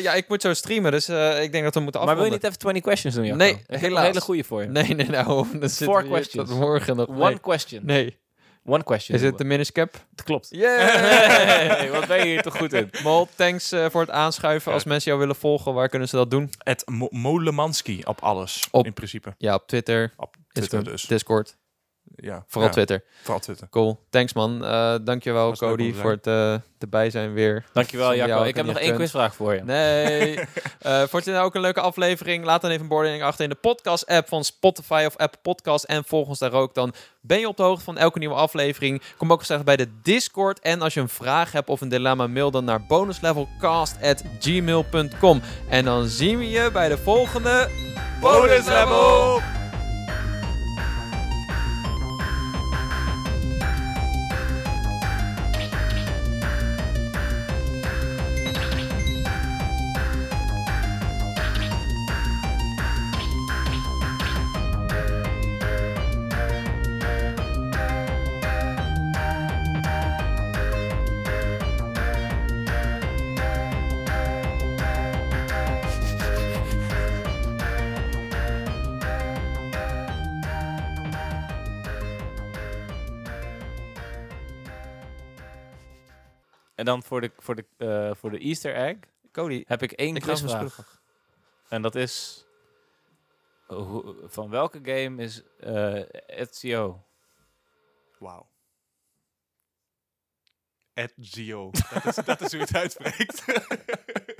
ja, ik moet zo streamen, dus eh, ik denk dat we moeten Maar wil afronden. je niet even 20 questions doen, Jacco? Nee, Ik heb helaas. een hele goede voor je. Nee, nee, nou. Dan zitten Four we hier questions. tot morgen nog. One Nee. question. nee. One question. Is het de miniscap? Dat klopt. Yeah! Hey, wat ben je hier toch goed in? mol, thanks eh, voor het aanschuiven. Als mensen jou willen volgen, waar kunnen ze dat doen? Het Mo- Molemanski op alles, Op- in principe. Ja, op Twitter, Op Twitter Instagram, dus. Discord. ja, Vooral ja, Twitter. vooral Twitter. Cool. Thanks man. Eh dankjewel Was leuk om Cody te zijn. voor het eh, erbij zijn weer. Dankjewel, Zonder jou had Jacco. Ik ik heb niet nog echt één punt. quizvraag voor je. Nee. Eh vond je nou ook een leuke aflevering? Laat dan even een beoordeling achter in de podcast-app van Spotify of Apple Podcast. En volg ons daar ook. Dan ben je op de hoogte van elke nieuwe aflevering. Kom ook gezellig bij de Discord. En als je een vraag hebt of een dilemma, mail dan naar bonuslevelcast.gmail.com. En dan zien we je bij de volgende Bonus level! En dan voor de, voor de, eh, voor de Easter egg Cody, heb ik één ik las mijn quizvraag. En dat is... eh, hoe- van welke game is eh Ezio? Wauw. At Gio. Dat is, dat is hoe je het uitspreekt.